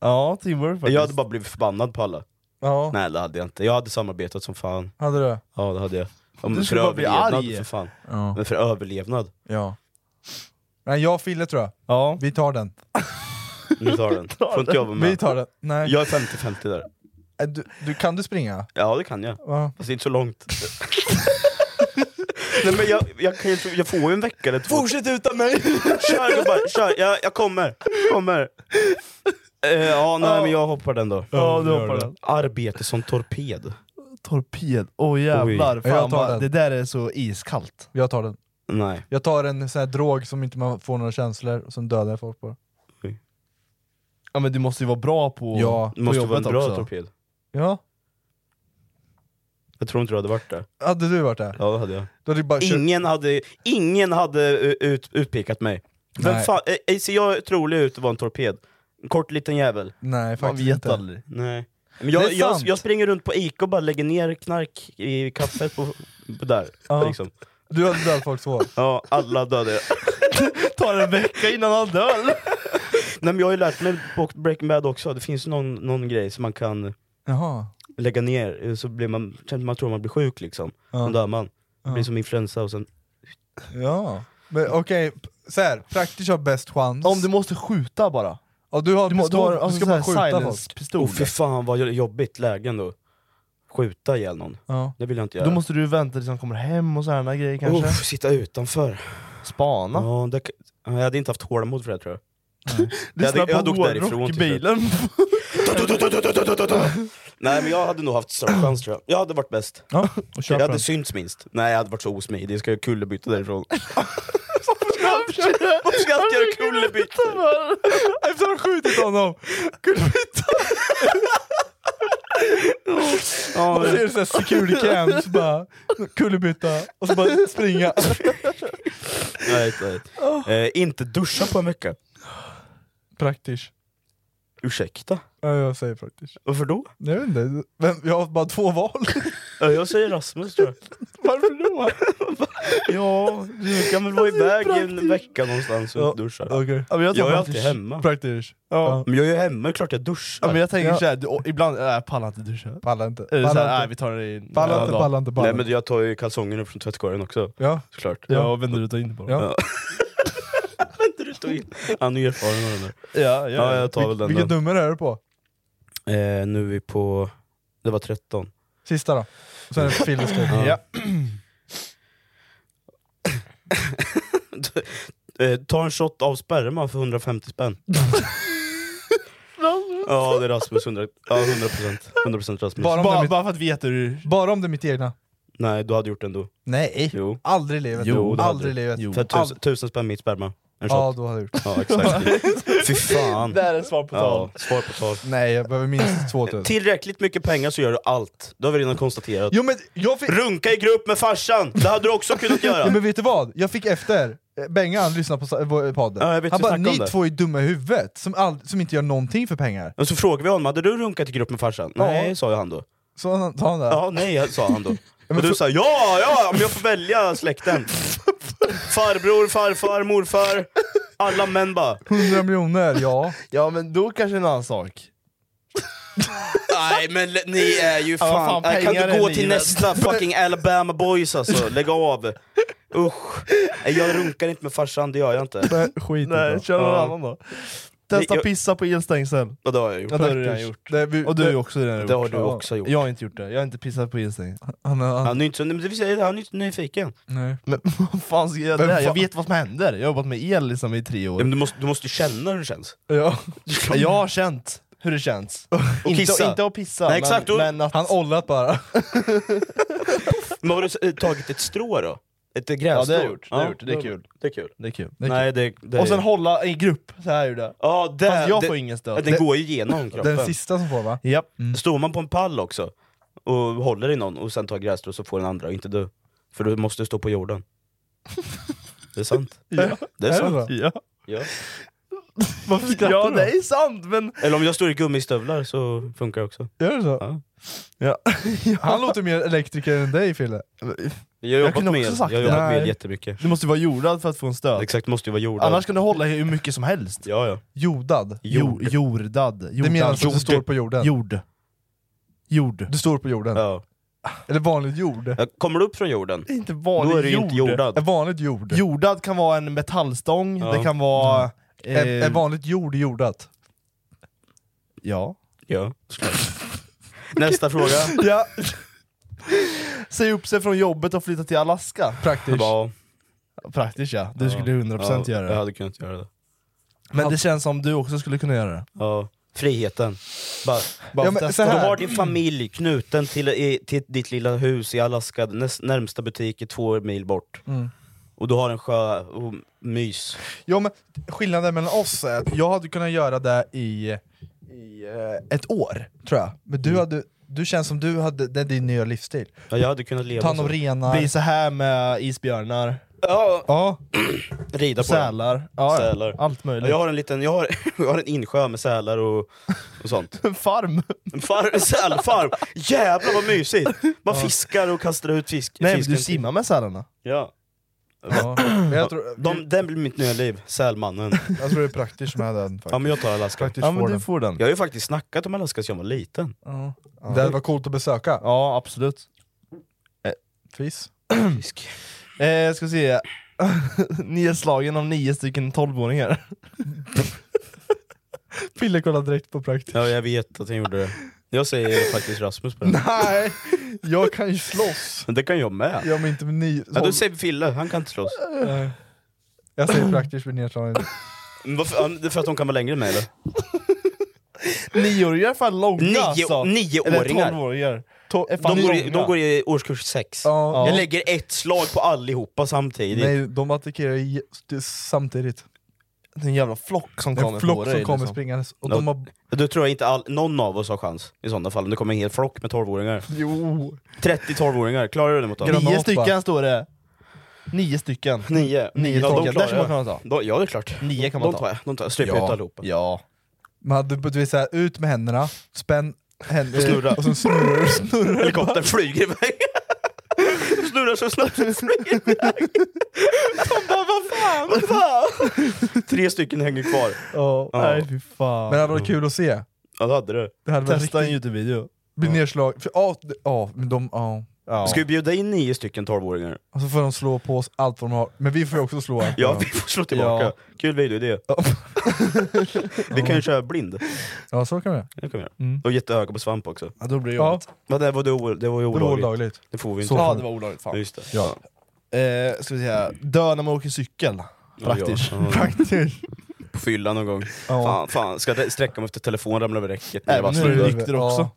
Speaker 9: Ja, teamwork faktiskt.
Speaker 3: Jag hade bara blivit förbannad på alla.
Speaker 1: Ja,
Speaker 3: Nej det hade jag inte, jag hade samarbetat som fan.
Speaker 1: hade du?
Speaker 3: Ja det hade jag. Om
Speaker 9: Du
Speaker 3: för
Speaker 9: skulle bara bli
Speaker 3: överlevnad
Speaker 9: arg.
Speaker 3: för fan.
Speaker 1: Ja.
Speaker 3: Men för överlevnad,
Speaker 1: ja. Nej, jag och Fille tror jag.
Speaker 9: Ja.
Speaker 1: Vi tar den.
Speaker 3: ni tar den. Får inte jag vara
Speaker 1: Vi
Speaker 3: med?
Speaker 1: tar den. Nej.
Speaker 3: Jag är 50-50 där.
Speaker 1: Äh, Du, du, kan du springa?
Speaker 3: Ja det kan jag.
Speaker 1: Ja.
Speaker 3: Fast inte så långt. Nej, men jag, jag, kan, ju- jag får ju en vecka eller två. Fortsätt utan mig! Kör gubbar, kör. Jag, jag kommer. kommer. Eh, ja, nej, men jag hoppar den då.
Speaker 9: Ja, du hoppar den.
Speaker 3: Arbete som torped.
Speaker 9: Torped, åh jävlar.
Speaker 1: Oj.
Speaker 9: Fan,
Speaker 1: Jag tar
Speaker 9: vad,
Speaker 1: den.
Speaker 9: det där är så iskallt.
Speaker 1: Jag tar den.
Speaker 3: Nej.
Speaker 1: Jag tar en sån här drog som inte man får några känslor, och sen dödar jag folk på
Speaker 9: Ja men du måste ju vara bra på,
Speaker 1: Ja.
Speaker 9: på
Speaker 1: Du måste
Speaker 9: jobbet
Speaker 1: vara en bra
Speaker 9: också.
Speaker 1: torped. Ja,
Speaker 3: Jag tror inte du hade varit där.
Speaker 1: hade du varit där?
Speaker 3: Ja, det hade jag.
Speaker 1: Då hade du bara kört-
Speaker 3: Ingen hade, ingen hade eh, ut, utpekat mig. Vem
Speaker 1: Nej.
Speaker 3: fan, eh, eh, ser jag trolig ut att vara en torped? En kort liten jävel.
Speaker 1: Nej, faktiskt inte.
Speaker 3: Nej. Men
Speaker 1: Det
Speaker 3: jag,
Speaker 1: är
Speaker 3: jag,
Speaker 1: sant.
Speaker 3: jag springer runt på Ica och bara lägger ner knark i kaffet på, på där.
Speaker 1: Ja.
Speaker 3: Liksom.
Speaker 1: Du hade dödat folk så.
Speaker 3: Ja, alla dödade jag.
Speaker 9: Tar en vecka innan han dör!
Speaker 3: Nej men jag har ju lärt mig på Breaking Bad också, det finns någon, någon grej som man kan
Speaker 1: Jaha.
Speaker 3: lägga ner, eh, så blir man, känns- man tror man blir sjuk liksom.
Speaker 1: Ja.
Speaker 3: Sen dör man. Det blir
Speaker 1: Ja.
Speaker 3: som influensa och sen...
Speaker 1: Ja. Men okej, p- så här, praktiskt har bäst chans.
Speaker 9: Om du måste skjuta bara.
Speaker 1: Ja, du har
Speaker 9: Du må-
Speaker 1: pistol,
Speaker 9: du har-
Speaker 1: du,
Speaker 9: alltså
Speaker 1: ska
Speaker 9: så här
Speaker 1: bara skjuta folk.
Speaker 9: silence-pistol.
Speaker 3: Oh, fy fan vad jobbigt lägen då. Skjuta ihjäl någon.
Speaker 1: Ja.
Speaker 3: Det vill jag inte göra.
Speaker 9: Då måste du vänta tills han kommer hem och sådana grejer kanske.
Speaker 3: Uff, sitta utanför.
Speaker 9: Spana.
Speaker 3: Ja, det, jag hade inte haft tålamod för det tror jag. Jag hade,
Speaker 9: Lyssna
Speaker 3: jag hade
Speaker 9: på
Speaker 3: åkt därifrån
Speaker 9: hårdrock i
Speaker 3: till slut.
Speaker 9: bilen.
Speaker 3: Nej men jag hade nog haft större chans tror jag. Jag hade varit bäst.
Speaker 1: Ja,
Speaker 3: jag hade synts minst. Nej jag hade varit så osmidig, jag ska göra kullerbytta därifrån. Varför ska jag alltid göra kullerbyttor?
Speaker 1: Efter att ha skjutit honom!
Speaker 3: Ja,
Speaker 1: Och så är det såhär security cam, så bara kullerbytta, och så bara springa.
Speaker 3: nej, nej. Eh, inte duscha på en vecka.
Speaker 1: Praktiskt.
Speaker 3: Ursäkta?
Speaker 1: Ja, jag säger praktiskt.
Speaker 3: Varför då?
Speaker 1: Jag vet inte, Vem, jag har bara två val.
Speaker 3: Ja, jag säger Rasmus tror jag.
Speaker 1: Varför då?
Speaker 3: ja, du kan väl vara iväg i en vecka någonstans och inte duscha.
Speaker 9: Ja, men jag
Speaker 3: jag,
Speaker 9: tar
Speaker 3: är alltid
Speaker 9: praktiskt.
Speaker 3: hemma.
Speaker 1: Praktiskt.
Speaker 9: Ja.
Speaker 3: Men jag är ju hemma, det är klart jag duschar.
Speaker 9: Ja, men jag tänker
Speaker 3: Ja.
Speaker 9: såhär, du, och ibland, nej jag pallar inte duscha.
Speaker 1: Pallar inte.
Speaker 9: Eller
Speaker 1: Pallar
Speaker 9: såhär,
Speaker 1: inte.
Speaker 9: nej vi tar det i
Speaker 1: Pallar
Speaker 9: några
Speaker 1: inte,
Speaker 9: dagar.
Speaker 1: pallar inte, pallar
Speaker 3: Nej men jag tar ju kalsongerna upp från tvättkorgen också.
Speaker 1: Ja.
Speaker 3: Såklart.
Speaker 9: Ja, och vänder ut och in på dem.
Speaker 3: Ja. Vänder ut och in. Han är erfaren av den där.
Speaker 9: Ja, ja,
Speaker 3: ja, jag tar
Speaker 1: Vil-
Speaker 3: väl den
Speaker 1: Vilket
Speaker 3: då.
Speaker 1: nummer är du på?
Speaker 3: Eh, nu är vi på... Det var 13.
Speaker 1: Sista då. Och sen är det Philly
Speaker 3: Ja.
Speaker 1: ja.
Speaker 3: Eh, ta en shot av sperma för 150 spänn. ja, det är Rasmus. 100, ja, 100%, 100 Rasmus.
Speaker 1: Bara om det är mitt-
Speaker 9: för att veta hur...
Speaker 1: Bara om det är mitt egna.
Speaker 3: Nej, du hade gjort det ändå.
Speaker 1: Nej,
Speaker 3: Jo.
Speaker 1: aldrig i livet.
Speaker 3: det hade
Speaker 1: aldrig i
Speaker 3: du.
Speaker 1: livet.
Speaker 3: För tusen,
Speaker 1: Aldrig.
Speaker 3: tusen spänn mitt sperma. En
Speaker 1: Ja,
Speaker 3: shot.
Speaker 1: då hade jag gjort det.
Speaker 3: Ja, exakt. Fy fan.
Speaker 9: Det här är svar på tal.
Speaker 3: Ja, svar på tal.
Speaker 1: Nej, jag behöver minst 2000.
Speaker 3: Tillräckligt mycket pengar så gör du allt. Det har vi redan konstaterat.
Speaker 1: Jo men jag fick...
Speaker 3: Runka i grupp med farsan! Det hade du också kunnat
Speaker 1: Ja,
Speaker 3: göra.
Speaker 1: men vet du vad? Jag fick efter, eh, Benga han lyssnade på sa- vår podd,
Speaker 3: Ja, jag vet,
Speaker 1: han
Speaker 3: vi
Speaker 1: bara
Speaker 3: snackade om
Speaker 1: ni
Speaker 3: det."
Speaker 1: två är dumma i huvudet som, ald- som inte gör någonting för pengar.
Speaker 3: Och så frågade vi honom, hade du runkat i grupp med farsan?
Speaker 1: Ja.
Speaker 3: Nej, sa ju han då.
Speaker 1: Så han- sa han det.
Speaker 3: Ja, nej, sa han då. Och du sa ja, ja, om jag får välja släkten. Farbror, farfar, morfar. Alla män bara.
Speaker 1: 100 miljoner, ja.
Speaker 9: Ja men då kanske en annan sak.
Speaker 3: Nej men le- ni är ju
Speaker 9: Ja, vad
Speaker 3: fan...
Speaker 9: fan,
Speaker 3: Nej, kan
Speaker 9: pengar
Speaker 3: du gå
Speaker 9: är
Speaker 3: till
Speaker 9: livet.
Speaker 3: nästa fucking Alabama boys alltså? Lägg av. Usch. Nej, Jag runkar inte med farsan, det gör jag inte.
Speaker 1: Men Skit i
Speaker 9: Nej,
Speaker 1: det.
Speaker 9: kör någon
Speaker 3: Ja.
Speaker 9: annan då. Testa
Speaker 3: Nej, jag-
Speaker 9: pissa på elstängsel.
Speaker 3: Och det har jag gjort.
Speaker 9: Ja, det har du redan gjort.
Speaker 1: Det, vi,
Speaker 9: Och du har ju
Speaker 1: det,
Speaker 9: också redan gjort.
Speaker 3: Det har du också gjort.
Speaker 9: Jag har inte gjort det, jag har inte pissat på elstängsel.
Speaker 1: han, han,
Speaker 3: Han är ju inte så... men det vill säga, han är inte nyfiken.
Speaker 1: nej.
Speaker 9: Men vad fan ska jag göra
Speaker 1: Men
Speaker 9: det här? Jag
Speaker 1: fan-
Speaker 9: vet vad som händer, jag har jobbat med el liksom i tre
Speaker 3: Ja, men
Speaker 9: år.
Speaker 3: du, måste, du måste känna hur det känns.
Speaker 1: Ja.
Speaker 9: Jag har känt hur det känns.
Speaker 3: Och
Speaker 9: inte,
Speaker 3: kissa.
Speaker 9: inte att pissa,
Speaker 3: Nej,
Speaker 9: men,
Speaker 3: exakt, och-
Speaker 9: men att...
Speaker 1: Han ollat bara.
Speaker 3: Men har du s- eh, tagit ett strå då? Ett eh, grässtrå?
Speaker 9: Ja, det har jag gjort. Det har jag gjort. Det är kul.
Speaker 3: Det är kul.
Speaker 9: Det är kul.
Speaker 3: Nej, det, det
Speaker 9: Och sen hålla i grupp, så här gjorde jag.
Speaker 3: Ja, det,
Speaker 9: Fast jag
Speaker 3: det,
Speaker 9: får ingen stöd.
Speaker 3: Den går ju igenom kroppen.
Speaker 1: Den sista som får va?
Speaker 9: Japp.
Speaker 3: Står man på en pall också och håller i någon och sen tar grässtrå så får den andra och inte du. För du måste stå på jorden. Det är sant.
Speaker 9: Ja.
Speaker 3: Det är
Speaker 1: Är det
Speaker 3: sant.
Speaker 1: så?
Speaker 9: Ja.
Speaker 3: Ja.
Speaker 1: Varför skrattar
Speaker 9: ja,
Speaker 1: du?
Speaker 9: det är sant men...
Speaker 3: Eller om jag står i gummistövlar så funkar det också.
Speaker 1: Gör det så?
Speaker 3: Ja.
Speaker 9: Ja.
Speaker 1: Han låter mer elektriker än dig Fille.
Speaker 3: Jag har jobbat
Speaker 9: kunde
Speaker 3: med
Speaker 9: också
Speaker 3: el.
Speaker 9: sagt
Speaker 3: Jag har
Speaker 9: det.
Speaker 3: jobbat med el
Speaker 1: Nej.
Speaker 3: jättemycket.
Speaker 9: Du måste vara jordad för att få en stöd.
Speaker 3: Exakt, måste ju vara jordad.
Speaker 9: Annars kan du hålla hur mycket som helst.
Speaker 3: Ja, ja.
Speaker 1: Jordad.
Speaker 9: Jo, jordad. jordad.
Speaker 1: Det menas att du står på jorden.
Speaker 9: Jord. Jord.
Speaker 1: Du står på jorden.
Speaker 3: ja.
Speaker 1: Eller vanligt jord.
Speaker 3: Ja, Kommer du upp från jorden,
Speaker 9: Det är inte
Speaker 3: då
Speaker 9: vanlig
Speaker 3: är du ju
Speaker 9: jord.
Speaker 3: inte jordad.
Speaker 1: Vanligt jord.
Speaker 9: Jordad kan vara en metallstång,
Speaker 3: Ja.
Speaker 9: det kan vara...
Speaker 1: Är,
Speaker 9: eh,
Speaker 1: är vanligt jord jordat?
Speaker 9: ja.
Speaker 3: Ja, såklart. Nästa fråga.
Speaker 1: Ja.
Speaker 9: säga upp sig från jobbet och flytta till Alaska.
Speaker 1: Praktiskt.
Speaker 9: Ja. Praktiskt ja, du skulle 100%
Speaker 3: ja,
Speaker 9: göra det.
Speaker 3: Jag hade kunnat göra det.
Speaker 9: Men det känns som du också skulle kunna göra det.
Speaker 3: Ja. Friheten. Bara, bara
Speaker 9: Ja, men
Speaker 3: testa.
Speaker 9: så här-
Speaker 3: Du har din familj knuten till, i, till ditt lilla hus i Alaska, näst, närmsta butik är två mil bort.
Speaker 1: Mm.
Speaker 3: Och du har en sjö och mys.
Speaker 1: Jo, men skillnaden mellan oss är att jag hade kunnat göra det i, i eh, ett år, tror jag. Men
Speaker 9: Mm.
Speaker 1: du, hade, du känns som du hade, det är din nya livsstil.
Speaker 3: Ja, jag hade kunnat leva
Speaker 1: Ta hand om
Speaker 3: så.
Speaker 1: renar.
Speaker 9: Bli Alltså, så här med isbjörnar,
Speaker 3: Ja.
Speaker 1: ja.
Speaker 3: Rida på
Speaker 9: sälar, ja, ja.
Speaker 3: sälar.
Speaker 9: allt möjligt.
Speaker 3: Jag har en liten, jag har, jag har en insjö med sälar och, och sånt.
Speaker 9: En farm!
Speaker 3: En far, en sälfarm! Jävlar vad mysigt! Man fiskar och kastar ut fisk.
Speaker 9: Nej men
Speaker 3: fisken
Speaker 9: du
Speaker 3: till-
Speaker 9: simmar med sälarna.
Speaker 3: Ja.
Speaker 1: Men jag tror,
Speaker 3: De, den blir mitt nya liv, Sälmannen.
Speaker 1: jag tror det är praktiskt med den faktiskt.
Speaker 3: Ja men jag tar Alaska.
Speaker 1: Faktiskt Ja, men får du den.
Speaker 9: får den.
Speaker 3: Jag har ju faktiskt snackat om Alaska sedan jag var liten.
Speaker 1: Ja. Det hade varit coolt att besöka.
Speaker 9: Ja absolut.
Speaker 1: Eh, Fis.
Speaker 3: Fisk.
Speaker 9: Eh, ska se, ni är slagen av nio stycken tolvåringar.
Speaker 1: Pille kollade direkt på praktiskt.
Speaker 3: Ja jag vet att han gjorde det. Jag säger faktiskt Rasmus på den.
Speaker 1: Nej, jag kan ju slåss.
Speaker 3: Men det kan jag med.
Speaker 1: Jag men inte med ni...
Speaker 3: Ja, då säger vi Fille, han kan inte slåss.
Speaker 1: Nej. Jag säger praktiskt blir nedslagen.
Speaker 3: Men Varför, ja, det är för att de kan vara längre än mig eller?
Speaker 9: Nioåringar är fan långa
Speaker 3: Nio-
Speaker 9: alltså.
Speaker 3: nioåringar.
Speaker 9: Eller tolvåringar. Är fan
Speaker 3: De går, i,
Speaker 9: långa.
Speaker 3: de går i årskurs sex.
Speaker 1: Ja.
Speaker 3: Jag lägger ett slag på allihopa samtidigt.
Speaker 1: Nej, de attackerar i- samtidigt.
Speaker 9: Det är en jävla flock som
Speaker 1: Det är
Speaker 9: kommer
Speaker 1: en
Speaker 9: på
Speaker 1: flock
Speaker 9: dig.
Speaker 1: som kommer
Speaker 9: liksom.
Speaker 1: springandes. Och
Speaker 3: Ja.
Speaker 1: de har...
Speaker 3: Då tror jag inte all, någon av oss har chans i sådana fall, om det kommer en hel flock med 12-åringar.
Speaker 1: Jo.
Speaker 3: 30 12-åringar, klarar du det mot dem?
Speaker 9: Nio stycken står det. Nio stycken.
Speaker 3: Nio.
Speaker 9: Nio
Speaker 3: ja, de
Speaker 9: stycken. Där
Speaker 3: klarar
Speaker 9: ska man kunna
Speaker 3: jag.
Speaker 9: ta.
Speaker 3: De, ja det är klart.
Speaker 9: Nio kan man
Speaker 3: de
Speaker 9: ta.
Speaker 3: tar jag, de tar jag. Stryp
Speaker 9: Ja.
Speaker 3: ut allihopa.
Speaker 9: Ja.
Speaker 1: Man hade på ett vis så här, ut med händerna, spänn händer,
Speaker 3: Och snurra.
Speaker 1: och sen snurrar snurrar det bara.
Speaker 3: Helikoptern flyger iväg. Snurrar så snabbt den flyger iväg. De bara, vad fan, vad fan? Tre stycken hänger kvar.
Speaker 1: Ja.
Speaker 3: Ja.
Speaker 9: Nej fy fan.
Speaker 1: Men det hade varit kul att se.
Speaker 3: Ja det hade du.
Speaker 1: Det hade varit
Speaker 9: Testa en
Speaker 1: riktigt...
Speaker 9: Youtube-video.
Speaker 1: Bli nedslag... För, ja, det- ja, men de... Ja.
Speaker 9: Ja.
Speaker 3: Ska vi bjuda in nio stycken 12-åringar?
Speaker 1: Och så får de slå på oss allt vad de har. Men vi får ju också slå allt
Speaker 3: Ja,
Speaker 1: vad
Speaker 3: vi
Speaker 1: de har.
Speaker 3: får slå tillbaka.
Speaker 1: Ja.
Speaker 3: Kul videoidé. vi kan ju köra blind.
Speaker 1: Ja, så kan vi göra.
Speaker 3: Det kan vi göra.
Speaker 9: Mm.
Speaker 3: Och jätteöga på svamp också.
Speaker 9: Ja, då blir det
Speaker 1: Ja,
Speaker 9: jobbigt.
Speaker 3: Men det var, det, o- det var ju
Speaker 1: det var
Speaker 3: olagligt.
Speaker 1: olagligt.
Speaker 3: Det får vi inte.
Speaker 1: Så
Speaker 9: Ja
Speaker 1: får vi.
Speaker 9: det var olagligt
Speaker 3: Ja,
Speaker 9: fan.
Speaker 3: Just det.
Speaker 1: Ja.
Speaker 9: Eh, ska vi säga, dö när man åker cykel. Praktiskt.
Speaker 3: Ja, ja.
Speaker 1: Praktiskt.
Speaker 3: På fylla någon gång.
Speaker 1: Ja.
Speaker 3: Fan, fan, ska jag sträcka mig efter telefonen ramlar över räcket? när jag
Speaker 9: Även
Speaker 3: bara
Speaker 9: nu är du
Speaker 3: snurrar.
Speaker 9: nykter också.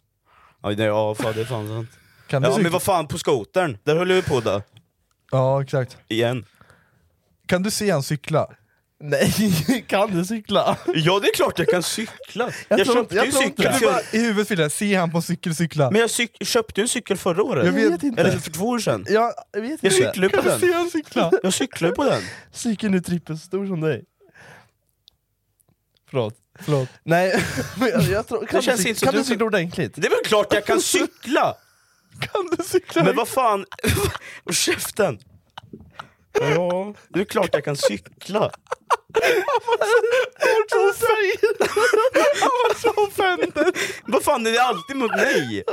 Speaker 3: Ja, nej, ja, fan, det är fan sant.
Speaker 1: Kan du
Speaker 3: Ja men
Speaker 1: cykla?
Speaker 3: vad fan, på skotern, där höll vi på då.
Speaker 1: Ja, exakt.
Speaker 3: Igen.
Speaker 1: Kan du se han cykla?
Speaker 9: Nej, kan du cykla?
Speaker 3: Ja det är klart jag kan cykla! Jag,
Speaker 9: tror
Speaker 3: köpte
Speaker 9: inte- jag
Speaker 3: ju en
Speaker 9: tror inte
Speaker 3: cykel
Speaker 9: det.
Speaker 1: Du bara,
Speaker 3: för,
Speaker 1: I huvudet Fille, se han på en cykel cykla.
Speaker 3: Men jag cyk, köpte ju en cykel förra året.
Speaker 1: Jag vet
Speaker 9: inte.
Speaker 3: Eller för två år sedan.
Speaker 9: Jag, jag vet
Speaker 3: Jag
Speaker 9: inte.
Speaker 3: cyklar ju på
Speaker 9: Kan du
Speaker 3: den.
Speaker 9: se han cykla?
Speaker 3: Jag cyklar ju på den.
Speaker 9: Cykeln är trippelstor som dig. Förlåt.
Speaker 1: Förlåt.
Speaker 9: Nej, men jag, jag tror... Kan,
Speaker 3: känns
Speaker 9: du,
Speaker 3: inte
Speaker 9: cyk-
Speaker 3: som
Speaker 9: kan
Speaker 3: du
Speaker 9: du
Speaker 3: som-
Speaker 9: cykla ordentligt?
Speaker 3: Det är väl klart jag kan cykla!
Speaker 1: Kan du cykla?
Speaker 3: Men vad fan, och käften! Ja, det är klart jag kan cykla!
Speaker 9: Jag säger det!
Speaker 3: Vad fan är det alltid mot mig?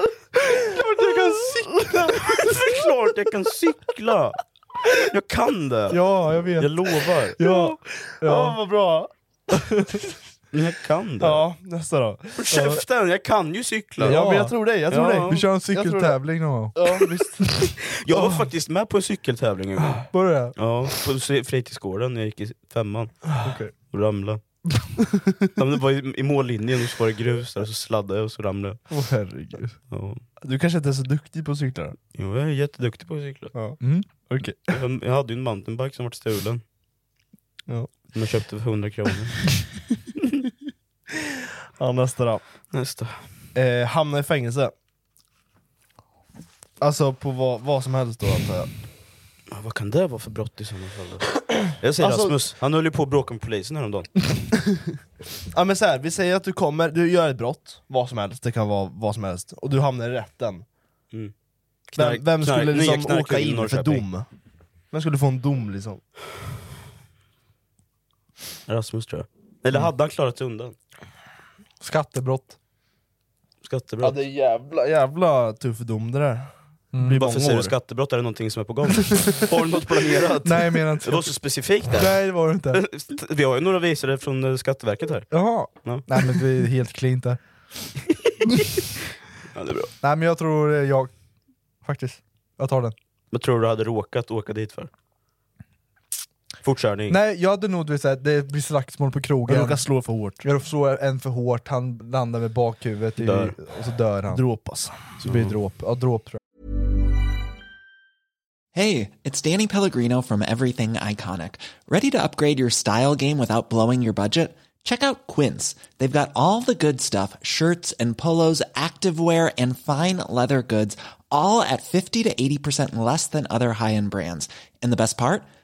Speaker 9: Klart jag kan cykla!
Speaker 3: Det är klart jag kan cykla! Jag kan det!
Speaker 1: Ja, jag vet.
Speaker 3: Jag lovar.
Speaker 1: Ja.
Speaker 9: Ja,
Speaker 1: Ja.
Speaker 9: vad bra.
Speaker 3: Jag kan det.
Speaker 9: Ja, nästa då.
Speaker 3: Håll Käften, jag kan ju cykla!
Speaker 9: Ja, men jag tror dig, jag tror
Speaker 3: Ja.
Speaker 9: dig.
Speaker 1: Vi kör en
Speaker 9: tror det.
Speaker 1: cykeltävling någon gång.
Speaker 9: Ja, visst.
Speaker 3: Jag var faktiskt med på en cykeltävling en gång.
Speaker 1: Var det det?
Speaker 3: Ja, på se- fritidsgården när jag gick i femman
Speaker 9: Ah,
Speaker 1: Okej.
Speaker 3: och ramlade. ja, men det var i, i mållinjen och så var det grus där, så sladdade jag och så ramlade jag.
Speaker 1: Åh herregud.
Speaker 3: ja.
Speaker 9: Du kanske inte är så duktig på att cykla?
Speaker 3: Jo, jag är jätteduktig på att cykla.
Speaker 9: Ja.
Speaker 1: Mm.
Speaker 9: Okej.
Speaker 3: Jag, jag hade ju en mountainbike som vart stulen.
Speaker 9: Ja.
Speaker 3: Som jag köpte för 100 kronor.
Speaker 9: Ja, nästa då.
Speaker 3: Nästa.
Speaker 9: Eh, hamna i fängelse. Alltså på vad, vad som helst då antar jag.
Speaker 3: Ja, vad kan det vara för brott i sådana fall? då? Jag säger
Speaker 9: Alltså-
Speaker 3: Rasmus, han höll ju på att bråka med polisen häromdagen.
Speaker 9: Ja men så här, vi säger att du kommer, du gör ett brott, vad som helst, det kan vara vad som helst, och du hamnar i rätten.
Speaker 3: Mm. Knark-
Speaker 9: Vem, vem skulle
Speaker 3: knark- nya
Speaker 9: liksom
Speaker 3: knarkkungen
Speaker 9: åka
Speaker 3: i
Speaker 9: in för
Speaker 3: Norrköping.
Speaker 9: dom? Vem skulle få en dom liksom?
Speaker 3: Rasmus tror jag.
Speaker 9: Mm.
Speaker 3: Eller hade han klarat sig undan?
Speaker 1: Skattebrott.
Speaker 9: Ja
Speaker 3: Skattebrott?
Speaker 9: det är jävla, jävla tuff dom det där. Det blir
Speaker 3: Varför
Speaker 9: många
Speaker 3: säger du
Speaker 9: år.
Speaker 3: skattebrott? Är det någonting som är på gång? Har du något planerat?
Speaker 1: Nej, jag menar
Speaker 3: Det
Speaker 1: inte
Speaker 3: var så specifikt där.
Speaker 1: Nej, det var det inte.
Speaker 3: Vi har ju några visare från eh, Skatteverket här.
Speaker 1: Jaha.
Speaker 3: Ja.
Speaker 1: Nej men vi är helt cleant där.
Speaker 3: Ja, det är bra.
Speaker 1: Nej men jag tror eh, jag, faktiskt. Jag tar den.
Speaker 3: Vad tror du du hade råkat åka dit för? Fortkörning?
Speaker 1: Nej, jag hade nog du vet, såhär, det blir slagsmål på krogen.
Speaker 9: Jag råkar slå för hårt.
Speaker 1: Jag råkar slå en för hårt, han landar med bakhuvudet i,
Speaker 9: Dör. alltså.
Speaker 1: och så dör han.
Speaker 9: Dråpas.
Speaker 1: Så blir det dråp. Ja, dråp tror jag.
Speaker 15: Hey, it's Danny Pellegrino from Everything Iconic. Ready to upgrade your style game without blowing your budget? Check out Quince. They've got all the good stuff shirts and polos, activewear, and fine leather goods, all at 50 to 80% less than other high end brands. And the best part?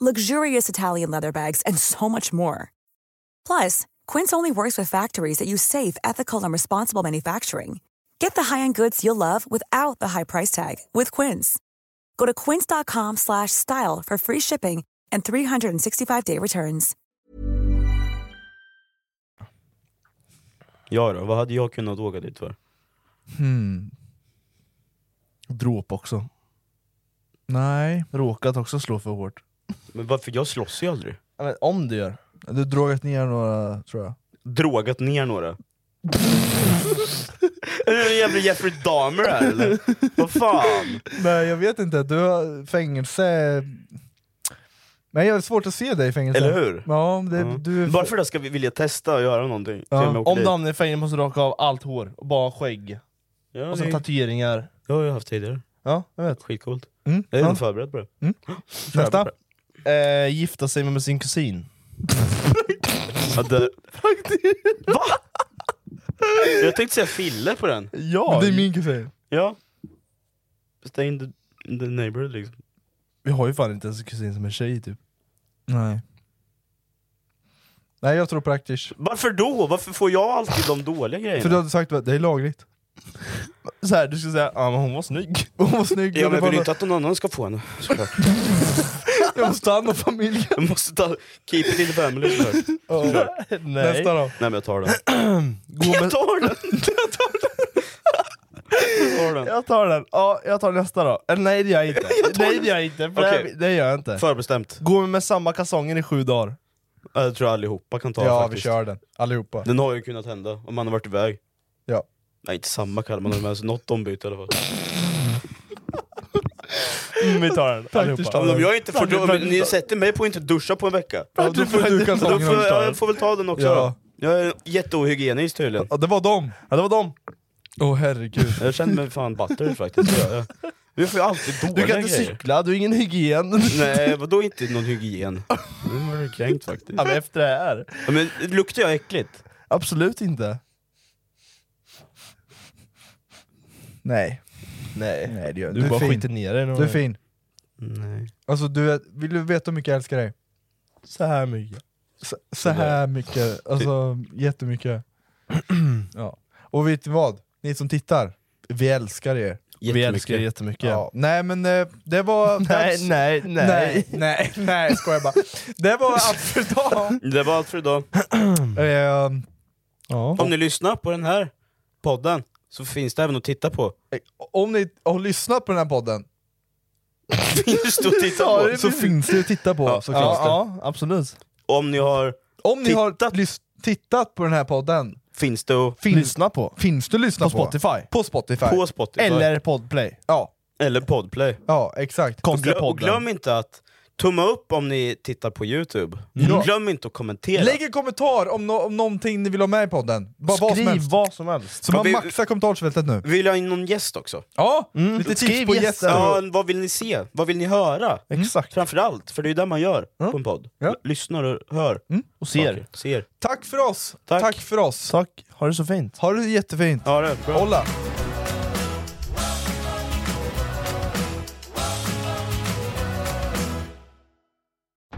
Speaker 16: luxurious Italian leather bags, and so much more. Plus, Quince only works with factories that use safe, ethical, and responsible manufacturing. Get the high-end goods you'll love without the high price tag with Quince. Go to quince.com slash style for free shipping and 365-day returns.
Speaker 3: Ja då, vad hade jag kunnat åka dit för?
Speaker 1: Hmm.
Speaker 9: Dråp också.
Speaker 1: Nej.
Speaker 9: Råkat också slå för hårt.
Speaker 3: Men varför, jag slåss ju aldrig.
Speaker 9: Men om du gör.
Speaker 1: Du har drogat ner några tror jag.
Speaker 3: Drogat ner några. är du en jävla Jeffrey Dahmer här eller? Vad fan?
Speaker 1: Nej jag vet inte, du har fängelse... Nej jag har svårt att se dig i fängelse.
Speaker 3: Eller hur? Mm.
Speaker 1: Ja, det, du...
Speaker 3: Bara för det ska vi vilja testa och göra någonting. Se
Speaker 9: Ja.
Speaker 3: jag åker
Speaker 9: Om
Speaker 3: dit.
Speaker 9: du hamnar i fängelse måste du raka av allt hår, och bara skägg.
Speaker 3: Ja,
Speaker 9: och sen
Speaker 3: det-
Speaker 9: tatueringar.
Speaker 3: Det har jag haft tidigare.
Speaker 9: Ja, jag vet.
Speaker 3: Skitcoolt.
Speaker 1: Mm,
Speaker 3: Jag är
Speaker 9: ja. Mm.
Speaker 3: inte förberedd på det. Förberedd
Speaker 9: Nästa.
Speaker 3: på det.
Speaker 9: Eh, gifta sig med sin kusin.
Speaker 3: Ja, det... Va? Jag tänkte säga Fille på den.
Speaker 9: Ja,
Speaker 1: Det är min kusin.
Speaker 3: Ja. Stay in the, in the neighborhood liksom.
Speaker 9: Vi har ju fan inte ens en kusin som är tjej typ.
Speaker 1: Nej. Nej jag tror på Aktish.
Speaker 3: Varför då? Varför får jag alltid de dåliga grejerna?
Speaker 1: För du hade sagt att det är lagligt.
Speaker 9: Så här, du skulle säga ah, men hon var snygg.
Speaker 1: Hon var snygg.
Speaker 3: Ja, men jag
Speaker 1: bara-
Speaker 3: vill ju inte att någon annan ska få henne, såklart.
Speaker 1: jag måste ta hand om familjen.
Speaker 3: Jag måste ta... Keep it in the family, såklart. Såklart.
Speaker 9: Nej.
Speaker 1: Nästa då.
Speaker 3: Nej, men jag tar den.
Speaker 9: Gå med...
Speaker 3: Jag tar den! Jag tar den!
Speaker 9: Jag tar den. Ja, jag tar nästa då. Eller nej det gör jag inte.
Speaker 3: Jag tar
Speaker 9: nej
Speaker 3: den.
Speaker 9: det gör jag inte. För
Speaker 3: Okej.
Speaker 9: det, det gör jag inte.
Speaker 3: Förbestämt.
Speaker 9: Gå med samma kalsonger i sju dagar.
Speaker 3: Ja, Jag tror allihopa kan ta
Speaker 1: Ja
Speaker 3: faktiskt.
Speaker 1: vi kör den, allihopa.
Speaker 3: Den har ju kunnat hända om man har varit iväg.
Speaker 1: Ja.
Speaker 3: Nej, inte samma kall, man har med sig något ombyte i alla fall.
Speaker 9: Mm, vi tar den allihopa.
Speaker 3: Ja, men om jag inte får
Speaker 9: Praktiskt
Speaker 3: då, men ni
Speaker 9: taget.
Speaker 3: sätter mig på att inte duscha på en vecka.
Speaker 1: Ja, då får du
Speaker 3: Då
Speaker 1: kalsongerna
Speaker 3: får,
Speaker 1: förstå.
Speaker 3: jag, jag får väl ta den också
Speaker 1: Ja.
Speaker 3: då. Jag är jätteohygienisk tydligen.
Speaker 1: Ja, det var dem!
Speaker 9: Ja det var dem.
Speaker 1: Åh herregud.
Speaker 3: Jag känner mig fan butter faktiskt. Jag, jag, vi får ju alltid dåliga
Speaker 9: Du kan inte
Speaker 3: grejer.
Speaker 9: cykla, du har ingen hygien.
Speaker 3: Nej, vadå inte någon hygien? Nu var du kränkt faktiskt.
Speaker 9: Ja, men efter det här.
Speaker 3: Ja, Men luktar jag äckligt?
Speaker 9: Absolut inte.
Speaker 1: Nej.
Speaker 9: Nej.
Speaker 1: Nej det gör
Speaker 9: Du, bara
Speaker 1: är fin.
Speaker 9: skiter ner dig. någon-
Speaker 1: Du är fin.
Speaker 3: Nej.
Speaker 1: Alltså du, är- vill du veta hur mycket jag älskar dig?
Speaker 9: Så här mycket.
Speaker 1: Så, så här mycket, alltså jättemycket. ja. Och vet ni vad? Ni som tittar, vi älskar er.
Speaker 9: Vi älskar er jättemycket.
Speaker 1: Ja. Nej men eh, det var...
Speaker 9: Nej, nej, nej.
Speaker 1: nej, nej, nej skojar bara. Det var allt för idag.
Speaker 3: Det var allt för idag.
Speaker 9: Mm.
Speaker 1: Eh,
Speaker 3: Om ni lyssnar på den här podden så finns det även att titta på.
Speaker 1: om ni har lyssnat på den här podden
Speaker 3: Finns det att titta på.
Speaker 1: så finns det att titta på såklart.
Speaker 9: Ja, ja absolut.
Speaker 3: Om ni har...
Speaker 1: Om ni har lys- tittat på den här podden,
Speaker 3: Finns det att...
Speaker 1: finns,
Speaker 9: Lyssna på.
Speaker 1: finns det att lyssna
Speaker 9: På
Speaker 1: på?
Speaker 9: Spotify.
Speaker 1: På Spotify.
Speaker 3: På Spotify.
Speaker 9: Eller Podplay.
Speaker 1: Ja,
Speaker 3: Eller Podplay.
Speaker 1: ja exakt.
Speaker 9: Konstiga
Speaker 3: Glö- och
Speaker 9: podden.
Speaker 3: glöm inte att tumma upp om ni tittar på Youtube. Glöm inte att kommentera.
Speaker 1: Lägg en kommentar om, no- om någonting ni vill ha med i podden. Bara vad som
Speaker 9: Skriv
Speaker 1: helst.
Speaker 9: vad som helst.
Speaker 1: Så man
Speaker 3: vi-
Speaker 1: maxar kommentarsfältet nu.
Speaker 3: Vill jag ha in någon gäst också?
Speaker 1: Ja, lite tips
Speaker 9: Skriv
Speaker 1: på
Speaker 9: gäster.
Speaker 1: gäster.
Speaker 3: Ja, vad vill ni se? Vad vill ni höra?
Speaker 9: Exakt.
Speaker 3: Framförallt, för det är ju det man gör på en podd.
Speaker 1: Ja.
Speaker 3: Lyssnar och hör.
Speaker 9: Och ser.
Speaker 3: Saker. Ser.
Speaker 1: Tack för oss!
Speaker 3: Tack.
Speaker 1: för oss!
Speaker 9: Tack, ha det så fint.
Speaker 1: Ha det jättefint!
Speaker 3: Ja, det är bra.
Speaker 1: Olla!